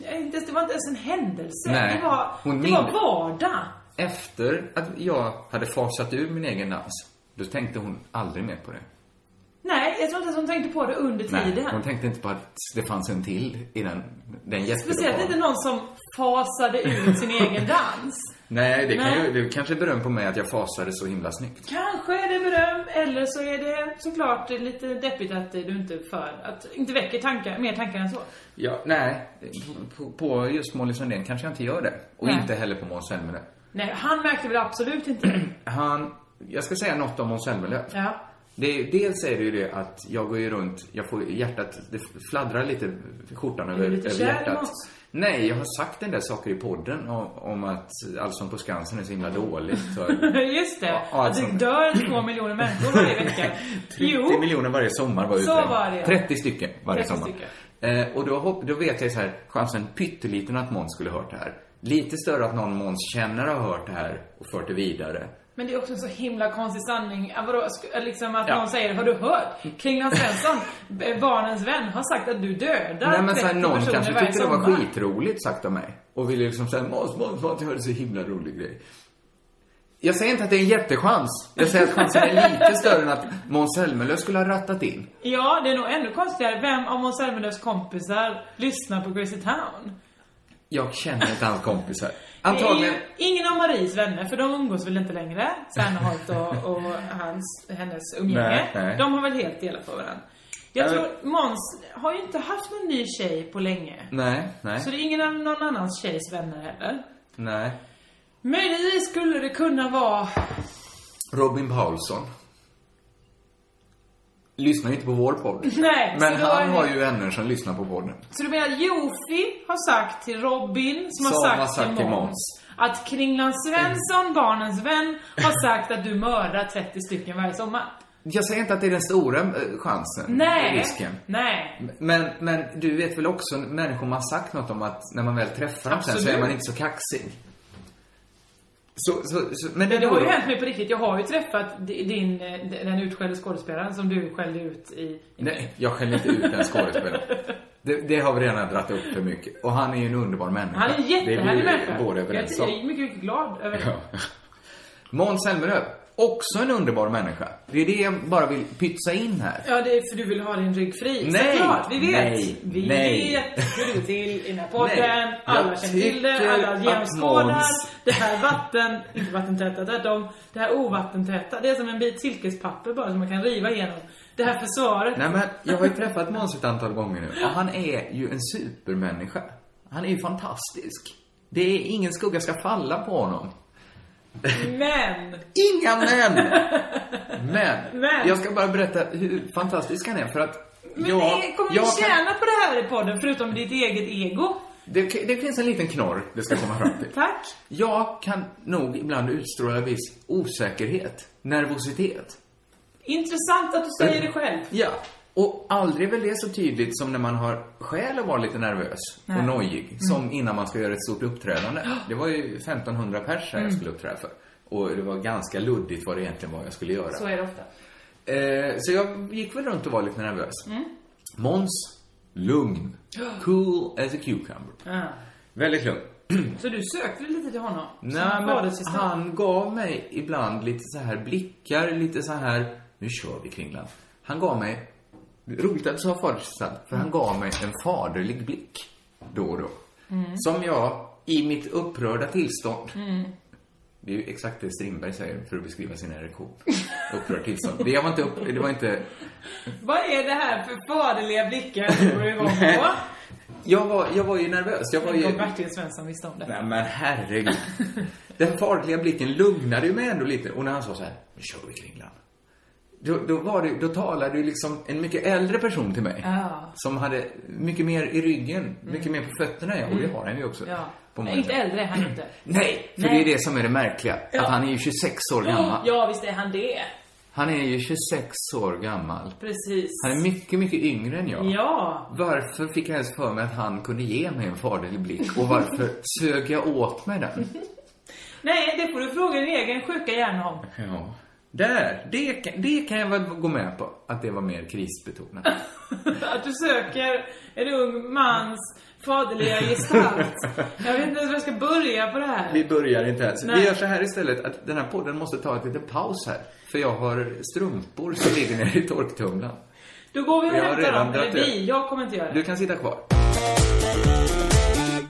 Speaker 8: eh, inte- Det var inte ens en händelse.
Speaker 7: Nej,
Speaker 8: det var,
Speaker 7: hon
Speaker 8: det var
Speaker 7: minns-
Speaker 8: vardag.
Speaker 7: Efter att jag hade fasat ur min egen dans, då tänkte hon aldrig mer på det.
Speaker 8: Nej, jag tror inte att hon tänkte på det under
Speaker 7: Nej,
Speaker 8: tiden.
Speaker 7: hon tänkte inte på att det fanns en till i den, den
Speaker 8: Speciellt inte
Speaker 7: jättelokalen.
Speaker 8: någon som fasade ut sin egen dans.
Speaker 7: Nej, det, kan
Speaker 8: Nej.
Speaker 7: Ju, det är kanske är beröm på mig att jag fasade så himla snyggt.
Speaker 8: Kanske är det beröm, eller så är det såklart lite deppigt att du inte för, att inte väcker tankar, mer tankar än så.
Speaker 7: Ja, nej, på, på just Molly Sandén kanske jag inte gör det. Och
Speaker 8: Nej.
Speaker 7: inte heller på Måns Zelmerlöw.
Speaker 8: Nej, han märkte väl absolut inte det.
Speaker 7: Han, jag ska säga något om Måns Zelmerlöw.
Speaker 8: Ja.
Speaker 7: Det, är- dels är det ju det att jag går ju runt, jag får hjärtat, det fladdrar lite, skjortan över,
Speaker 8: du lite
Speaker 7: över
Speaker 8: kär i
Speaker 7: hjärtat.
Speaker 8: Måns?
Speaker 7: Nej, jag har sagt en del saker i podden om, om att Allsång på Skansen är så himla dåligt. Så
Speaker 8: Just det,
Speaker 7: Ja,
Speaker 8: att det
Speaker 7: alltså.
Speaker 8: dör två miljoner människor varje vecka.
Speaker 7: 30
Speaker 8: Jo,
Speaker 7: miljoner varje sommar var
Speaker 8: Så
Speaker 7: uträknat.
Speaker 8: var det, ja.
Speaker 7: 30 stycken varje
Speaker 8: 30
Speaker 7: sommar.
Speaker 8: stycken.
Speaker 7: Eh, och då, hopp, då vet jag så här, chansen pytteliten att Måns skulle hört det här. Lite större att någon Måns kännare har hört det här och fört det vidare.
Speaker 8: men det är också en så himla konstig sanning. Ja, vadå, sk- liksom att
Speaker 7: Ja.
Speaker 8: någon säger, har du hört? Kringland Svensson, b- barnens vän, har sagt att du dödar
Speaker 7: Nej men såhär,
Speaker 8: 30
Speaker 7: någon
Speaker 8: personer
Speaker 7: kanske
Speaker 8: varje
Speaker 7: tyckte det var
Speaker 8: sommar.
Speaker 7: skitroligt sagt av mig. Och ville liksom säga Måns, Måns, Måns, jag hörde så himla rolig grej. Jag säger inte att det är en jättechans. Jag säger att chansen är lite större än att Måns Zelmerlöw skulle ha rattat in.
Speaker 8: Ja, det är nog ännu konstigare. Vem av Måns Zelmerlöws kompisar lyssnar på Crazy Town?
Speaker 7: Jag känner inte hans kompisar.
Speaker 8: Det är
Speaker 7: Antagligen.
Speaker 8: ju ingen av Maries vänner, för de umgås väl inte längre? Serneholt och, och hans, hennes umgänge.
Speaker 7: Nej, nej.
Speaker 8: De har väl helt delat på varandra. Jag tror, Måns har ju inte haft någon ny tjej på länge.
Speaker 7: Nej, nej,
Speaker 8: Så det är ingen av någon annans tjejs vänner heller.
Speaker 7: nej.
Speaker 8: Möjligtvis skulle det kunna vara...
Speaker 7: Robin Paulsson. Lyssnar ju inte på vår podd.
Speaker 8: Nej,
Speaker 7: Men
Speaker 8: så då är
Speaker 7: han
Speaker 8: det-
Speaker 7: har ju vänner som lyssnar på podden.
Speaker 8: Så du menar att Jofi har sagt till Robin, som,
Speaker 7: Som
Speaker 8: har sagt, till Måns,
Speaker 7: Måns. Mm.
Speaker 8: att Kringland Svensson, barnens vän, har sagt att du mördar 30 stycken varje sommar?
Speaker 7: Jag säger inte att det är den stora eh, chansen,
Speaker 8: Nej.
Speaker 7: risken.
Speaker 8: Nej.
Speaker 7: Men, men du vet väl också, människor man har sagt något om att när man väl träffar dem sen så är
Speaker 8: Absolut.
Speaker 7: man inte så kaxig. Så, så, så men
Speaker 8: Det har ju hänt mig på riktigt. Jag har ju träffat di- din, eh, den utskällde skådespelaren som du skällde ut i...
Speaker 7: Nej, jag skäller inte ut den skådespelaren. Det, det har vi redan dratt upp för mycket. Och han är ju en underbar människa.
Speaker 8: Han är en jättehärlig
Speaker 7: Det blir
Speaker 8: människa.
Speaker 7: vi båda överens
Speaker 8: jag,
Speaker 7: om.
Speaker 8: jag är mycket, mycket glad över det.
Speaker 7: Ja. Måns Zelmerlöw, också en underbar människa. Det är det jag bara vill pytsa in här.
Speaker 8: Ja, det är för du vill ha din rygg fri.
Speaker 7: Nej.
Speaker 8: Såklart, vi vet.
Speaker 7: Nej.
Speaker 8: Vi
Speaker 7: Nej.
Speaker 8: vet hur det går till i den här podden.
Speaker 7: Nej.
Speaker 8: Alla
Speaker 7: Jag
Speaker 8: känner till det.
Speaker 7: tycker
Speaker 8: Alla
Speaker 7: att
Speaker 8: genomskådar.
Speaker 7: Måns-
Speaker 8: Det här vatten, inte vattentäta, tvärtom. Det här ovattentäta. Det är som en bit silkespapper bara som man kan riva igenom. Det här försvaret.
Speaker 7: Nej men, jag har ju träffat Måns ett antal gånger nu. Och han är ju en supermänniska. Han är ju fantastisk. Det är ingen skugga ska falla på honom.
Speaker 8: Men!
Speaker 7: Inga men! Men,
Speaker 8: Men.
Speaker 7: jag ska bara berätta hur fantastisk han är för att
Speaker 8: Men
Speaker 7: jag,
Speaker 8: det kommer
Speaker 7: jag
Speaker 8: du tjäna på det här i podden förutom ditt eget ego?
Speaker 7: det, det finns en liten knorr det ska komma fram till.
Speaker 8: Tack.
Speaker 7: Jag kan nog ibland utstråla viss osäkerhet, nervositet.
Speaker 8: Intressant att du säger det själv.
Speaker 7: Ja. Och aldrig är väl det så tydligt som när man har skäl att vara lite nervös och
Speaker 8: Mm.
Speaker 7: nojig. Som innan man ska göra ett stort uppträdande. Det var ju 1500 pers
Speaker 8: Mm.
Speaker 7: här jag skulle uppträda för. Och det var ganska luddigt vad det egentligen var jag skulle göra.
Speaker 8: Så är det ofta.
Speaker 7: Eh, så jag gick väl runt och var lite nervös. Måns, lugn. Cool as a cucumber.
Speaker 8: Ja.
Speaker 7: Väldigt lugn.
Speaker 8: Så du sökte lite till honom?
Speaker 7: Nej,
Speaker 8: Som
Speaker 7: men
Speaker 8: faderssystem.
Speaker 7: han gav mig ibland lite så här blickar, lite så här, nu kör vi Kringland. Han gav mig, roligt att du sa fadersgestalt, för han gav mig en faderlig blick då och då. Som jag, i mitt upprörda tillstånd, det är ju exakt det Strindberg säger för att beskriva sin erektion. Upprörd tillstånd. Det jag var inte upp, det var inte
Speaker 8: Vad är det här för faderliga blickar du går igång på?
Speaker 7: Jag var, jag var ju nervös. Jag var ju...
Speaker 8: Tänk om Bertil Svensson visste om det.
Speaker 7: Nej men herregud. Den farliga blicken lugnade ju mig ändå lite. Och när han sa så här, nu kör vi Kringlan. Då, då, var det, då talade ju liksom en mycket äldre person till mig.
Speaker 8: Ja. Mm.
Speaker 7: Som hade mycket mer i ryggen, mycket mer på fötterna än jag. Och det har han ju också.
Speaker 8: Ja.
Speaker 7: På många
Speaker 8: Nej, inte
Speaker 7: sätt.
Speaker 8: äldre är han inte.
Speaker 7: Nej, för
Speaker 8: Nej.
Speaker 7: det är det som är det märkliga.
Speaker 8: Ja.
Speaker 7: Att han är ju 26 år gammal.
Speaker 8: Ja, visst är han det.
Speaker 7: Han är ju 26 år gammal.
Speaker 8: Precis.
Speaker 7: Han är mycket, mycket yngre än jag.
Speaker 8: Ja.
Speaker 7: Varför fick jag ens för mig att han kunde ge mig en faderlig blick? Och varför sög jag åt mig den?
Speaker 8: Nej, det får du fråga din egen sjuka hjärna om.
Speaker 7: Ja. Där! Det kan, det kan jag väl gå med på, att det var mer krisbetonat.
Speaker 8: Att du söker en ung mans faderliga gestalt. Jag vet inte ens var jag ska börja på det här.
Speaker 7: Vi börjar inte ens.
Speaker 8: Nej.
Speaker 7: Vi gör så här istället, att den här podden måste ta en liten paus här. För jag har strumpor som ligger nere i torktumlaren.
Speaker 8: Då går vi och
Speaker 7: Jag har
Speaker 8: hämtar
Speaker 7: redan
Speaker 8: dem. Eller
Speaker 7: dragit det.
Speaker 8: vi, jag kommer inte göra
Speaker 7: Du
Speaker 8: det.
Speaker 7: kan sitta kvar.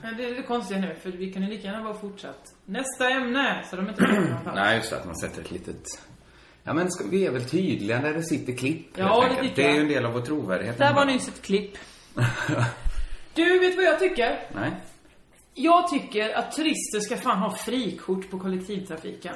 Speaker 8: Men det är det konstiga nu, för vi kan ju lika gärna vara fortsatt. Nästa ämne, så de inte kommer i alla fall.
Speaker 7: Nej, just det, att man sätter ett litet... Ja, men ska, vi är väl tydliga när det sitter klipp,
Speaker 8: Ja,
Speaker 7: helt
Speaker 8: det
Speaker 7: enkelt.
Speaker 8: tycker
Speaker 7: Det är
Speaker 8: jag.
Speaker 7: ju en del av vår trovärdighet.
Speaker 8: Där var nyss ett klipp. Du, vet vad jag tycker?
Speaker 7: Nej.
Speaker 8: Jag tycker att turister ska fan ha frikort på kollektivtrafiken.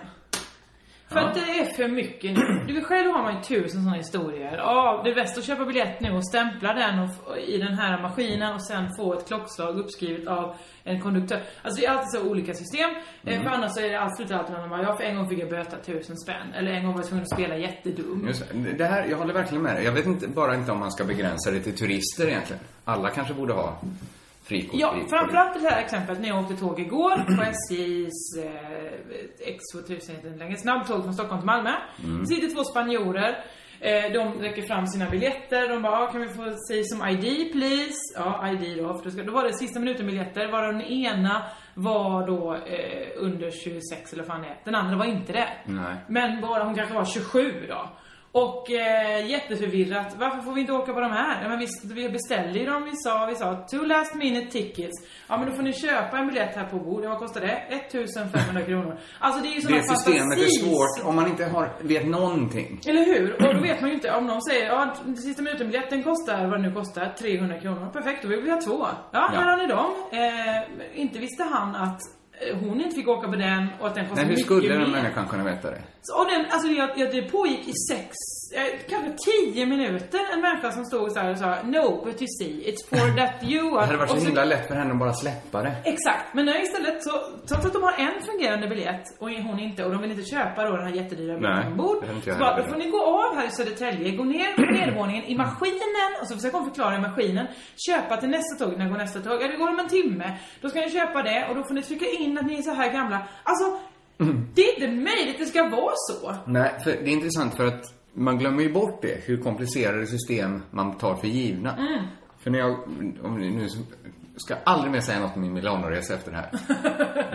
Speaker 8: För att det är för mycket nu. Du vet, själv har man ju tusen sådana historier. Ja, det är bäst att köpa biljett nu och stämpla den och, f- i den här maskinen och sen få ett klockslag uppskrivet av en konduktör. Alltså det är alltid så olika system. Eh, För annars så är det absolut alltid någon bara, ja för en gång fick jag böta tusen spänn. Eller en gång var jag tvungen att spela jättedum.
Speaker 7: Just det. det. här, jag håller verkligen med dig. Jag vet inte, bara inte om man ska begränsa det till turister egentligen. Alla kanske borde ha frikort.
Speaker 8: Ja,
Speaker 7: i-
Speaker 8: framförallt det här exemplet när jag åkte tåg igår på SJs eh, X2000 heter det längre, snabbtåg från Stockholm till Malmö. Sitter två spanjorer. Eh, de räcker fram sina biljetter. De bara, ah, kan vi få säga som ID please? Ja, ID då. För då, ska, då var det sista minuten biljetter. Varav den ena var då eh, under 26 eller vad fan det är. Den andra var inte det.
Speaker 7: Nej.
Speaker 8: Men bara hon kanske var 27 då. Och eh, jätteförvirrat. Varför får vi inte åka på de här? Ja, men vi, vi beställde ju dem. Vi sa, vi sa two last minute tickets. Ja men då får ni köpa en biljett här på bord. Ja, vad kostar det? 1500 kronor. Alltså det är ju sådana
Speaker 7: Det systemet är svårt om man inte har, vet någonting.
Speaker 8: eller hur? Och då vet man ju inte om någon säger ja, sista minuten-biljetten kostar, vad det nu kostar, 300 kronor. Perfekt, då vill vi ha två. Ja, här har ni dem. Eh, inte visste han att eh, hon inte fick åka på den och att den kostade
Speaker 7: Nej, hur
Speaker 8: mycket
Speaker 7: skulle den
Speaker 8: mer.
Speaker 7: människan kunna veta det?
Speaker 8: Så, Och den, alltså jag, jag, det pågick i sex eh, kanske 10 minuter en människa som stod så här och sa No, but you see, it's for that you
Speaker 7: Det
Speaker 8: are...
Speaker 7: hade varit så
Speaker 8: Och
Speaker 7: himla lätt för henne att bara släppa det.
Speaker 8: Exakt, men nej, istället så, trots att de har en fungerande biljett och hon inte, och de vill inte köpa då den här jättedyra
Speaker 7: Nej,
Speaker 8: biljetten ombord.
Speaker 7: det har inte
Speaker 8: Så
Speaker 7: jag
Speaker 8: bara,
Speaker 7: heller.
Speaker 8: då får ni gå av här i Södertälje, gå ner på nedervåningen i maskinen, och så försöker hon förklara i maskinen, köpa till nästa tåg, när går nästa tåg? Ja, det går om en timme. Då ska ni köpa det, och då får ni trycka in att ni är så här gamla. Alltså,
Speaker 7: Mm.
Speaker 8: det är inte möjligt det ska vara så.
Speaker 7: Nej, för det är intressant för att man glömmer ju bort det, hur komplicerade system man tar för givna.
Speaker 8: Mm.
Speaker 7: För när jag, om ni nu ska jag aldrig mer säga något om min Milanoresa efter det här.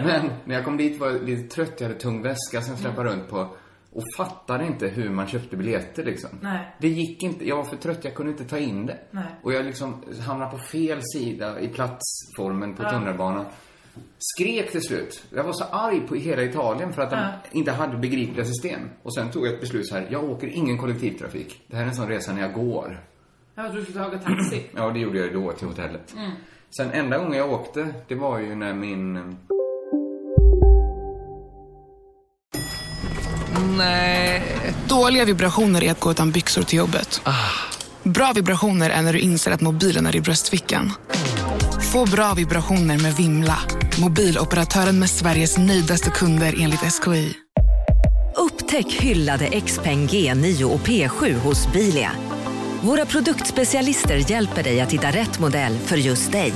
Speaker 7: Men när jag kom dit var jag lite trött, jag hade tung väska som jag
Speaker 8: Mm.
Speaker 7: släpade runt på och fattade inte hur man köpte biljetter liksom.
Speaker 8: Nej.
Speaker 7: Det gick inte, jag var för trött, jag kunde inte ta in det.
Speaker 8: Nej.
Speaker 7: Och jag liksom hamnade på fel sida i platsformen på tunnelbanan. Skrek till slut. Jag var så arg på hela Italien för att de inte hade begripliga system. Och sen tog jag ett beslut så här, jag åker ingen kollektivtrafik. Det här är en sån resa när jag går.
Speaker 8: Jag tror du skulle ta taxi.
Speaker 7: Ja, det gjorde jag ju då till hotellet.
Speaker 8: Mm.
Speaker 7: Sen enda gången jag åkte, det var ju när min...
Speaker 9: Dåliga vibrationer är att gå utan byxor till jobbet. Bra vibrationer är när du inser att mobilen är i bröstfickan. Få bra vibrationer med Vimla. Mobiloperatören med Sveriges nöjdaste kunder enligt SKI.
Speaker 10: Upptäck hyllade XPeng G9 och P7 hos Bilia. Våra produktspecialister hjälper dig att hitta rätt modell för just dig.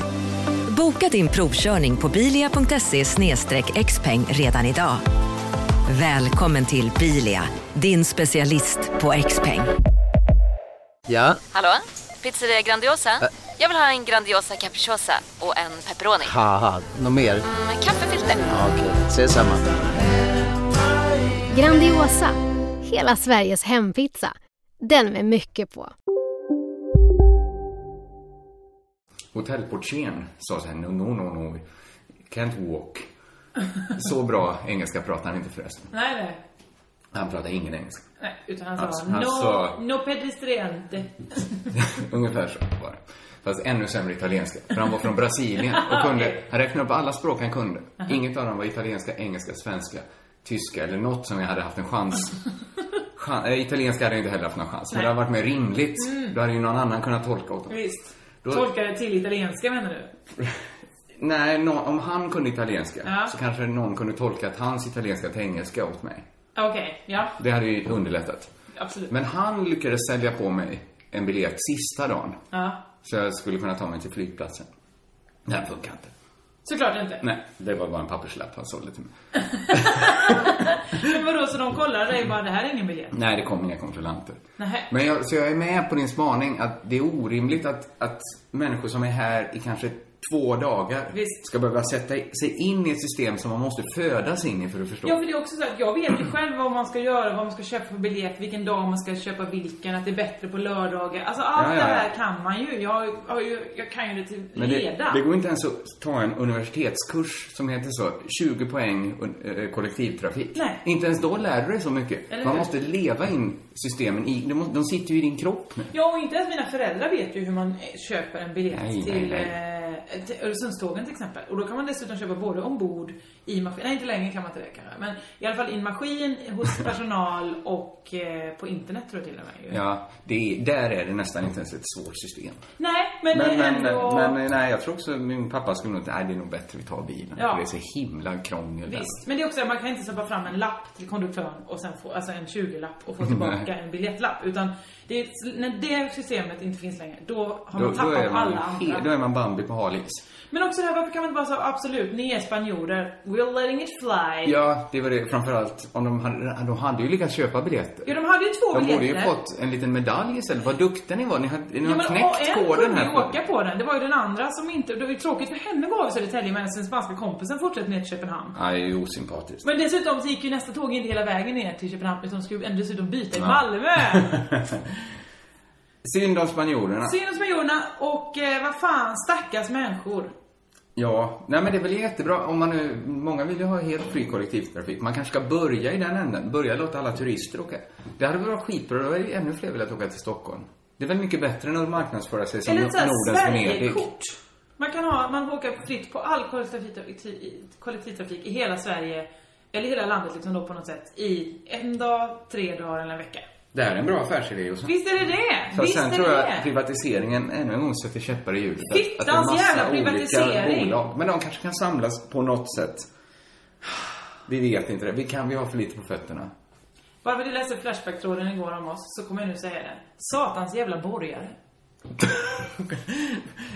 Speaker 10: Boka din provkörning på bilia.se xpeng redan idag. Välkommen till Bilia, din specialist på XPeng.
Speaker 9: Ja,
Speaker 10: Hallå? Pizzeria Grandiosa? Jag vill ha en Grandiosa capriciosa och en pepperoni.
Speaker 9: haha, något mer?
Speaker 10: Kaffefilter.
Speaker 9: Ja, Okej, ses samma.
Speaker 10: Grandiosa, hela Sveriges hempizza. Den med mycket på.
Speaker 7: hotellportieren sa så här, no, no, no, no, can't walk. Så bra engelska pratar han inte förresten.
Speaker 8: Nej, nej.
Speaker 7: Han pratar ingen engelska.
Speaker 8: Nej, utan han sa
Speaker 7: Alltså, han
Speaker 8: no,
Speaker 7: sa-
Speaker 8: no pedestriante.
Speaker 7: Ungefär så var det. Fast ännu sämre italienska. För han var från Brasilien och kunde, han räknade upp alla språk han kunde. Inget av dem var italienska, engelska, svenska, tyska eller något som jag hade haft en chans. Chan, eh, italienska hade jag inte heller haft någon chans. Men det hade varit mer rimligt. Då hade ju någon annan kunnat tolka åt honom.
Speaker 8: Visst.
Speaker 7: Då-
Speaker 8: Tolkar det till italienska menar du?
Speaker 7: Nej, nå- om han kunde italienska
Speaker 8: Ja.
Speaker 7: så kanske någon kunde tolka att hans italienska till engelska åt mig.
Speaker 8: Okej, ja.
Speaker 7: Det hade ju underlättat.
Speaker 8: Absolut.
Speaker 7: Men han lyckades sälja på mig en biljett sista dagen.
Speaker 8: Ja.
Speaker 7: Så jag skulle kunna ta mig till flygplatsen. Det här funkar inte.
Speaker 8: Såklart inte.
Speaker 7: Nej, det var bara en papperslapp han sålde till mig.
Speaker 8: Men vadå, så de kollar dig bara, det här är ingen biljett?
Speaker 7: Nej, det kom inga kontrollanter.
Speaker 8: Nähä.
Speaker 7: Men jag, så jag är med på din spaning att det är orimligt att, att människor som är här i kanske två dagar
Speaker 8: Visst.
Speaker 7: ska behöva sätta i- sig in i ett system som man måste födas in i för att förstå.
Speaker 8: Ja, för det är också så att jag vet ju själv vad man ska göra, vad man ska köpa för biljett, vilken dag man ska köpa vilken, att det är bättre på lördagar. Alltså allt
Speaker 7: Ja, ja, ja.
Speaker 8: det här kan man ju. Jag, har ju, jag kan ju det till
Speaker 7: Men det,
Speaker 8: leda.
Speaker 7: det går inte ens att ta en universitetskurs som heter så, 20 poäng eh, kollektivtrafik.
Speaker 8: Nej.
Speaker 7: Inte ens då lär du dig så mycket.
Speaker 8: Eller
Speaker 7: Man
Speaker 8: hur?
Speaker 7: måste leva in systemen i, de, må- de sitter ju i din kropp nu.
Speaker 8: Ja, och inte ens mina föräldrar vet ju hur man eh, köper en biljett
Speaker 7: Nej,
Speaker 8: till,
Speaker 7: nej,
Speaker 8: Eh, till Öresundstågen till exempel. Och då kan man dessutom köpa både ombord i maskin, nej inte längre kan man inte det kanske, men i alla fall i en maskin, hos personal och eh, på internet tror jag till och med. ju.
Speaker 7: Ja, det, är- där är det nästan inte ens ett svårt system.
Speaker 8: Nej, men,
Speaker 7: Men,
Speaker 8: det är
Speaker 7: men,
Speaker 8: ändå...
Speaker 7: men nej, jag tror också min pappa skulle nog nej det är nog bättre vi tar bilen.
Speaker 8: Ja.
Speaker 7: För det är så himla krångel. där.
Speaker 8: Visst, men det är också att man kan inte släppa fram en lapp till konduktören och sen få, alltså en 20-lapp och få tillbaka en biljettlapp. Utan det är, när det systemet inte finns längre, då har man
Speaker 7: Då, då,
Speaker 8: tappat
Speaker 7: är man,
Speaker 8: alla andra.
Speaker 7: he- då är man Bambi på hal is.
Speaker 8: Men också det här, varför kan man inte bara säga absolut, ni är spanjorer, we're letting it fly.
Speaker 7: Ja, det var det framförallt om de hade, de hade ju lyckats köpa biljetter.
Speaker 8: Ja, de hade ju två
Speaker 7: De borde ju
Speaker 8: biljetter.
Speaker 7: fått en liten medalj istället. Vad duktiga ni var. Ni har, ni
Speaker 8: Ja,
Speaker 7: har
Speaker 8: men och
Speaker 7: knäckt
Speaker 8: en
Speaker 7: koden
Speaker 8: kunde
Speaker 7: här.
Speaker 8: ju
Speaker 7: på-
Speaker 8: åka på den. Det var ju den andra som inte... Det var ju tråkigt för henne var i Södertälje medan den spanska kompisen fortsatte ner till Köpenhamn.
Speaker 7: Nej, det är ju osympatiskt.
Speaker 8: Men dessutom så gick ju nästa tåg inte hela vägen ner till Köpenhamn utan de skulle ju dessutom byta i
Speaker 7: Ja.
Speaker 8: Malmö.
Speaker 7: Synd om spanjorerna.
Speaker 8: Synd om spanjorerna och eh, vad fan, stackars människor.
Speaker 7: Ja, nej men det är väl jättebra om man nu, många vill ju ha helt fri kollektivtrafik. Man kanske ska börja i den änden. Börja låta alla turister åka. Det hade väl varit skitbra, då hade ju ännu fler velat åka till Stockholm. Det är väl mycket bättre än att marknadsföra sig som
Speaker 8: Eller ett sånt här
Speaker 7: Nordens Venedig.
Speaker 8: Sverigekort. Man kan ha, man får åka fritt på all kollektivtrafik, i- kollektivtrafik i hela Sverige, eller hela landet liksom då på något sätt, i en dag, tre dagar eller en vecka.
Speaker 7: Det här är en bra affärsidé Jossan.
Speaker 8: Visst är det det?
Speaker 7: Fast
Speaker 8: Visst
Speaker 7: sen
Speaker 8: är
Speaker 7: tror
Speaker 8: det
Speaker 7: jag
Speaker 8: det?
Speaker 7: att privatiseringen ännu en gång sätter käppar i hjulet. Att-
Speaker 8: Fittans
Speaker 7: att det är massa
Speaker 8: jävla
Speaker 7: olika
Speaker 8: privatisering.
Speaker 7: Bolag. Men de kanske kan samlas på något sätt. Vi vet inte det. Vi kan vi har för lite på fötterna.
Speaker 8: Bara för att du läste Flashback-tråden igår om oss så kommer jag nu säga det. Satans jävla borgare.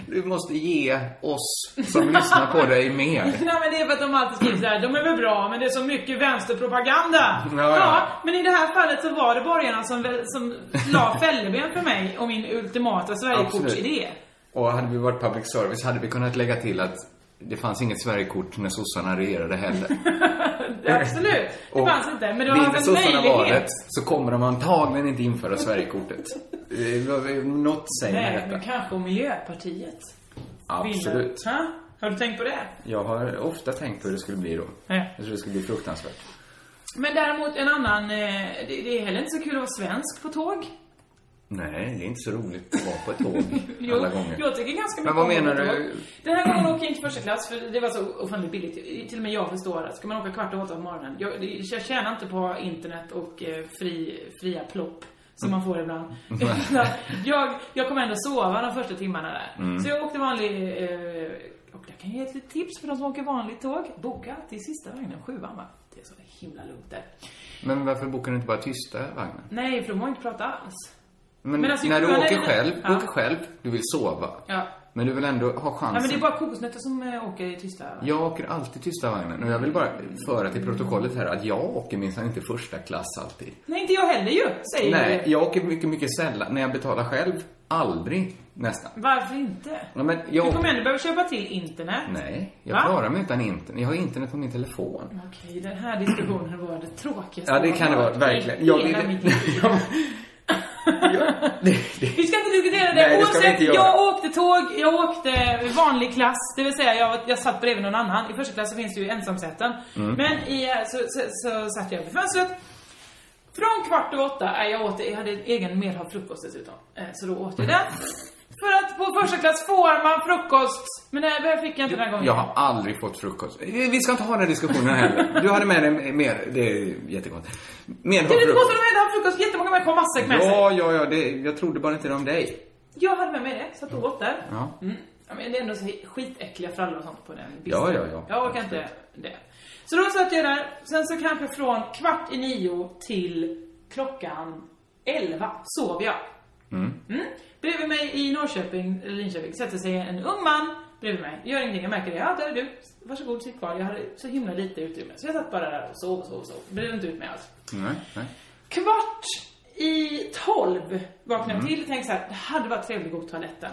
Speaker 7: Du måste ge oss som lyssnar på dig mer.
Speaker 8: Nej men det är för att de alltid skriver såhär, de är väl bra men det är så mycket vänsterpropaganda.
Speaker 7: Ja, ja.
Speaker 8: men i det här fallet så var det borgarna som, väl- som la fälleben för mig och min ultimata Sverigekortsidé.
Speaker 7: Och hade vi varit public service hade vi kunnat lägga till att det fanns inget Sverigekort när sossarna regerade heller.
Speaker 8: Absolut. Det
Speaker 7: Och
Speaker 8: fanns inte. Men det
Speaker 7: vinner
Speaker 8: var alltså en
Speaker 7: sossarna
Speaker 8: möjlighet.
Speaker 7: så kommer de antagligen inte införa Sverigekortet. Eh, vad- vad- Något säger mig
Speaker 8: Nej,
Speaker 7: detta.
Speaker 8: men kanske om Miljöpartiet.
Speaker 7: Absolut.
Speaker 8: vinner. Ha? Har du tänkt på det?
Speaker 7: Jag har ofta tänkt på hur det skulle bli då.
Speaker 8: Ja.
Speaker 7: Jag tror det skulle bli fruktansvärt.
Speaker 8: Men däremot en annan, eh, det, det är heller inte så kul att vara svensk på tåg.
Speaker 7: Nej, det är inte så roligt att vara på ett tåg
Speaker 8: Jo,
Speaker 7: alla gånger.
Speaker 8: jag tycker ganska mycket
Speaker 7: Men vad
Speaker 8: om
Speaker 7: menar
Speaker 8: det.
Speaker 7: du?
Speaker 8: Den här gången åker jag inte första klass för det var så ofantligt billigt. Till och med jag förstår att ska man åka kvart och åtta på morgonen. Jag, det- jag tjänar inte på internet och eh, fri, fria plopp. Som man får ibland.
Speaker 7: Mm.
Speaker 8: Utan jag, jag kommer ändå sova de första timmarna där.
Speaker 11: Mm.
Speaker 8: Så jag åkte vanlig, eh, och jag kan ge ett litet tips för de som åker vanligt tåg. Boka till sista vagnen, sjuan va? Det är så himla lugnt där.
Speaker 7: Men varför bokar du inte bara tysta vagnar?
Speaker 8: Nej, för de har inte prata alls.
Speaker 7: Men,
Speaker 8: Men alltså,
Speaker 7: när du
Speaker 8: men-
Speaker 7: åker själv, du
Speaker 8: Ja.
Speaker 7: åker själv, du vill sova.
Speaker 8: Ja.
Speaker 7: Men du vill ändå ha chansen.
Speaker 8: Nej men det är bara kokosnötter som eh, åker i tysta va?
Speaker 7: Jag åker alltid tysta vagnen och jag vill bara föra till protokollet här att jag åker minsann inte första klass alltid.
Speaker 8: Nej, inte jag heller ju, säger
Speaker 7: Nej,
Speaker 8: du.
Speaker 7: jag åker mycket, mycket sällan. När jag betalar själv, aldrig nästan.
Speaker 8: Varför inte?
Speaker 7: Ja, men jag
Speaker 8: Du kommer
Speaker 7: åker...
Speaker 8: ändå behöva köpa till internet.
Speaker 7: Nej, jag
Speaker 8: Va?
Speaker 7: klarar mig utan internet. Jag har internet på min telefon.
Speaker 8: Okej, den här diskussionen var det tråkigaste
Speaker 7: Ja, det
Speaker 8: jag
Speaker 7: kan det
Speaker 8: har
Speaker 7: vara.
Speaker 8: hört
Speaker 7: Verkligen.
Speaker 8: i
Speaker 7: Jag
Speaker 8: hela
Speaker 7: vill-
Speaker 8: mitt liv. Vi ska inte diskutera det.
Speaker 7: Nej, det ska vi
Speaker 8: Oavsett,
Speaker 7: inte göra.
Speaker 8: jag åkte tåg, jag åkte vanlig klass. Det vill säga, jag, var- jag satt bredvid någon annan. I första klass så finns ju ensamsätten.
Speaker 11: Mm.
Speaker 8: Men i, eh, så, så, så satt jag vid fönstret. Från kvart över åtta, nej, jag åt, jag hade egen medhavd frukost dessutom. Eh, Så då åt jag
Speaker 7: Mm.
Speaker 8: den. För att på första klass får man frukost. Men nej, det fick jag inte den här gången.
Speaker 7: Jag har aldrig fått frukost. Vi vi ska inte ha den här diskussionen heller. Du hade med dig mer. Det är jättegott. Mer
Speaker 8: Det är lite gott
Speaker 7: frukost.
Speaker 8: att de hade frukost. Jättemånga människor har matsäck med sig.
Speaker 7: Ja, ja, ja. Det, jag trodde bara inte det om dig.
Speaker 8: Jag hade med mig det, satt och åt där.
Speaker 7: Ja.
Speaker 8: Mm. Ja, Men det är ändå så skitäckliga frallor och sånt på den bissen.
Speaker 7: Ja, ja, ja.
Speaker 8: Jag orkar inte det. Så då satt jag där, sen så kanske från kvart i nio till klockan elva sov jag.
Speaker 11: Mm.
Speaker 8: Mm. Bredvid mig i Norrköping, eller Linköping, sätter sig en ung man bredvid mig. Gör ingenting, jag märker det. Ja, där är du. Varsågod, sitt kvar. Jag hade så himla lite utrymme. Så jag satt bara där och sov och sov och sov. Brydde inte ut mig alls.
Speaker 7: Nej, nej.
Speaker 8: Kvart i tolv vaknade jag
Speaker 7: Mm.
Speaker 8: till och tänkte så här, det hade varit trevligt att gå på toaletten.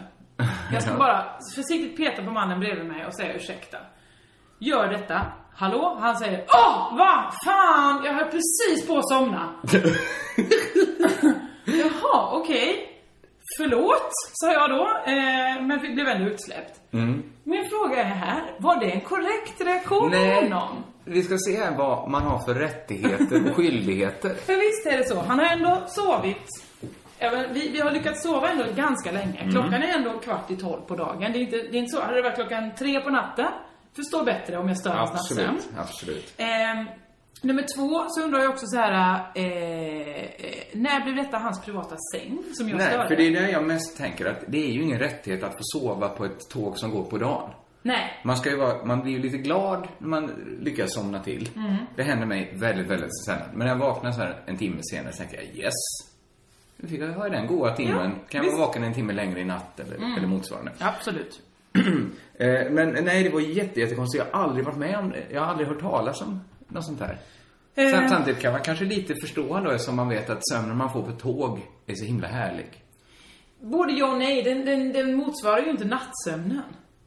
Speaker 8: Jag ska bara försiktigt peta på mannen bredvid mig och säga ursäkta. Gör detta. Hallå? Han säger Åh, vad fan! Jag höll precis på att somna. Jaha, okej. Förlåt, sa jag då. Eh, men vi blev ändå utsläppt.
Speaker 7: Mm.
Speaker 8: Min fråga är här, var det en korrekt reaktion av
Speaker 7: Nej.
Speaker 8: honom?
Speaker 7: Vi ska se här vad man har för rättigheter och skyldigheter.
Speaker 8: För visst är det så, han har ändå sovit. Även, vi, vi har lyckats sova ändå ganska länge.
Speaker 7: Mm.
Speaker 8: Klockan är ändå kvart i tolv på dagen. Det är inte, det är inte så, hade det varit klockan tre på natten, förstår bättre om jag stör hans nattsömn.
Speaker 7: Absolut, absolut.
Speaker 8: Ehm, nummer två så undrar jag också så här, eh, eh, när blev detta hans privata säng som jag
Speaker 7: Nej,
Speaker 8: störde?
Speaker 7: för det är det jag mest tänker att det är ju ingen rättighet att få sova på ett tåg som går på dagen.
Speaker 8: Nej.
Speaker 7: Man ska ju vara, man blir ju lite glad när man lyckas somna till.
Speaker 8: Mm.
Speaker 7: Det händer mig väldigt, väldigt sällan. Men när jag vaknar så här en timme senare så tänker jag yes. Nu fick jag ha den goa timmen.
Speaker 8: Ja,
Speaker 7: kan jag
Speaker 8: visst.
Speaker 7: vara vaken en timme längre i natt eller,
Speaker 8: Mm.
Speaker 7: eller motsvarande.
Speaker 8: Absolut.
Speaker 7: Eh, Men nej, det var jätte, jättekonstigt. Jag har aldrig varit med om det. Jag har aldrig hört talas om något sånt här.
Speaker 8: Eh.
Speaker 7: Sam- Samtidigt kan man kanske lite förstå då eftersom man vet att sömnen man får på tåg är så himla härlig.
Speaker 8: Både ja och nej, den, den, den motsvarar ju inte nattsömnen.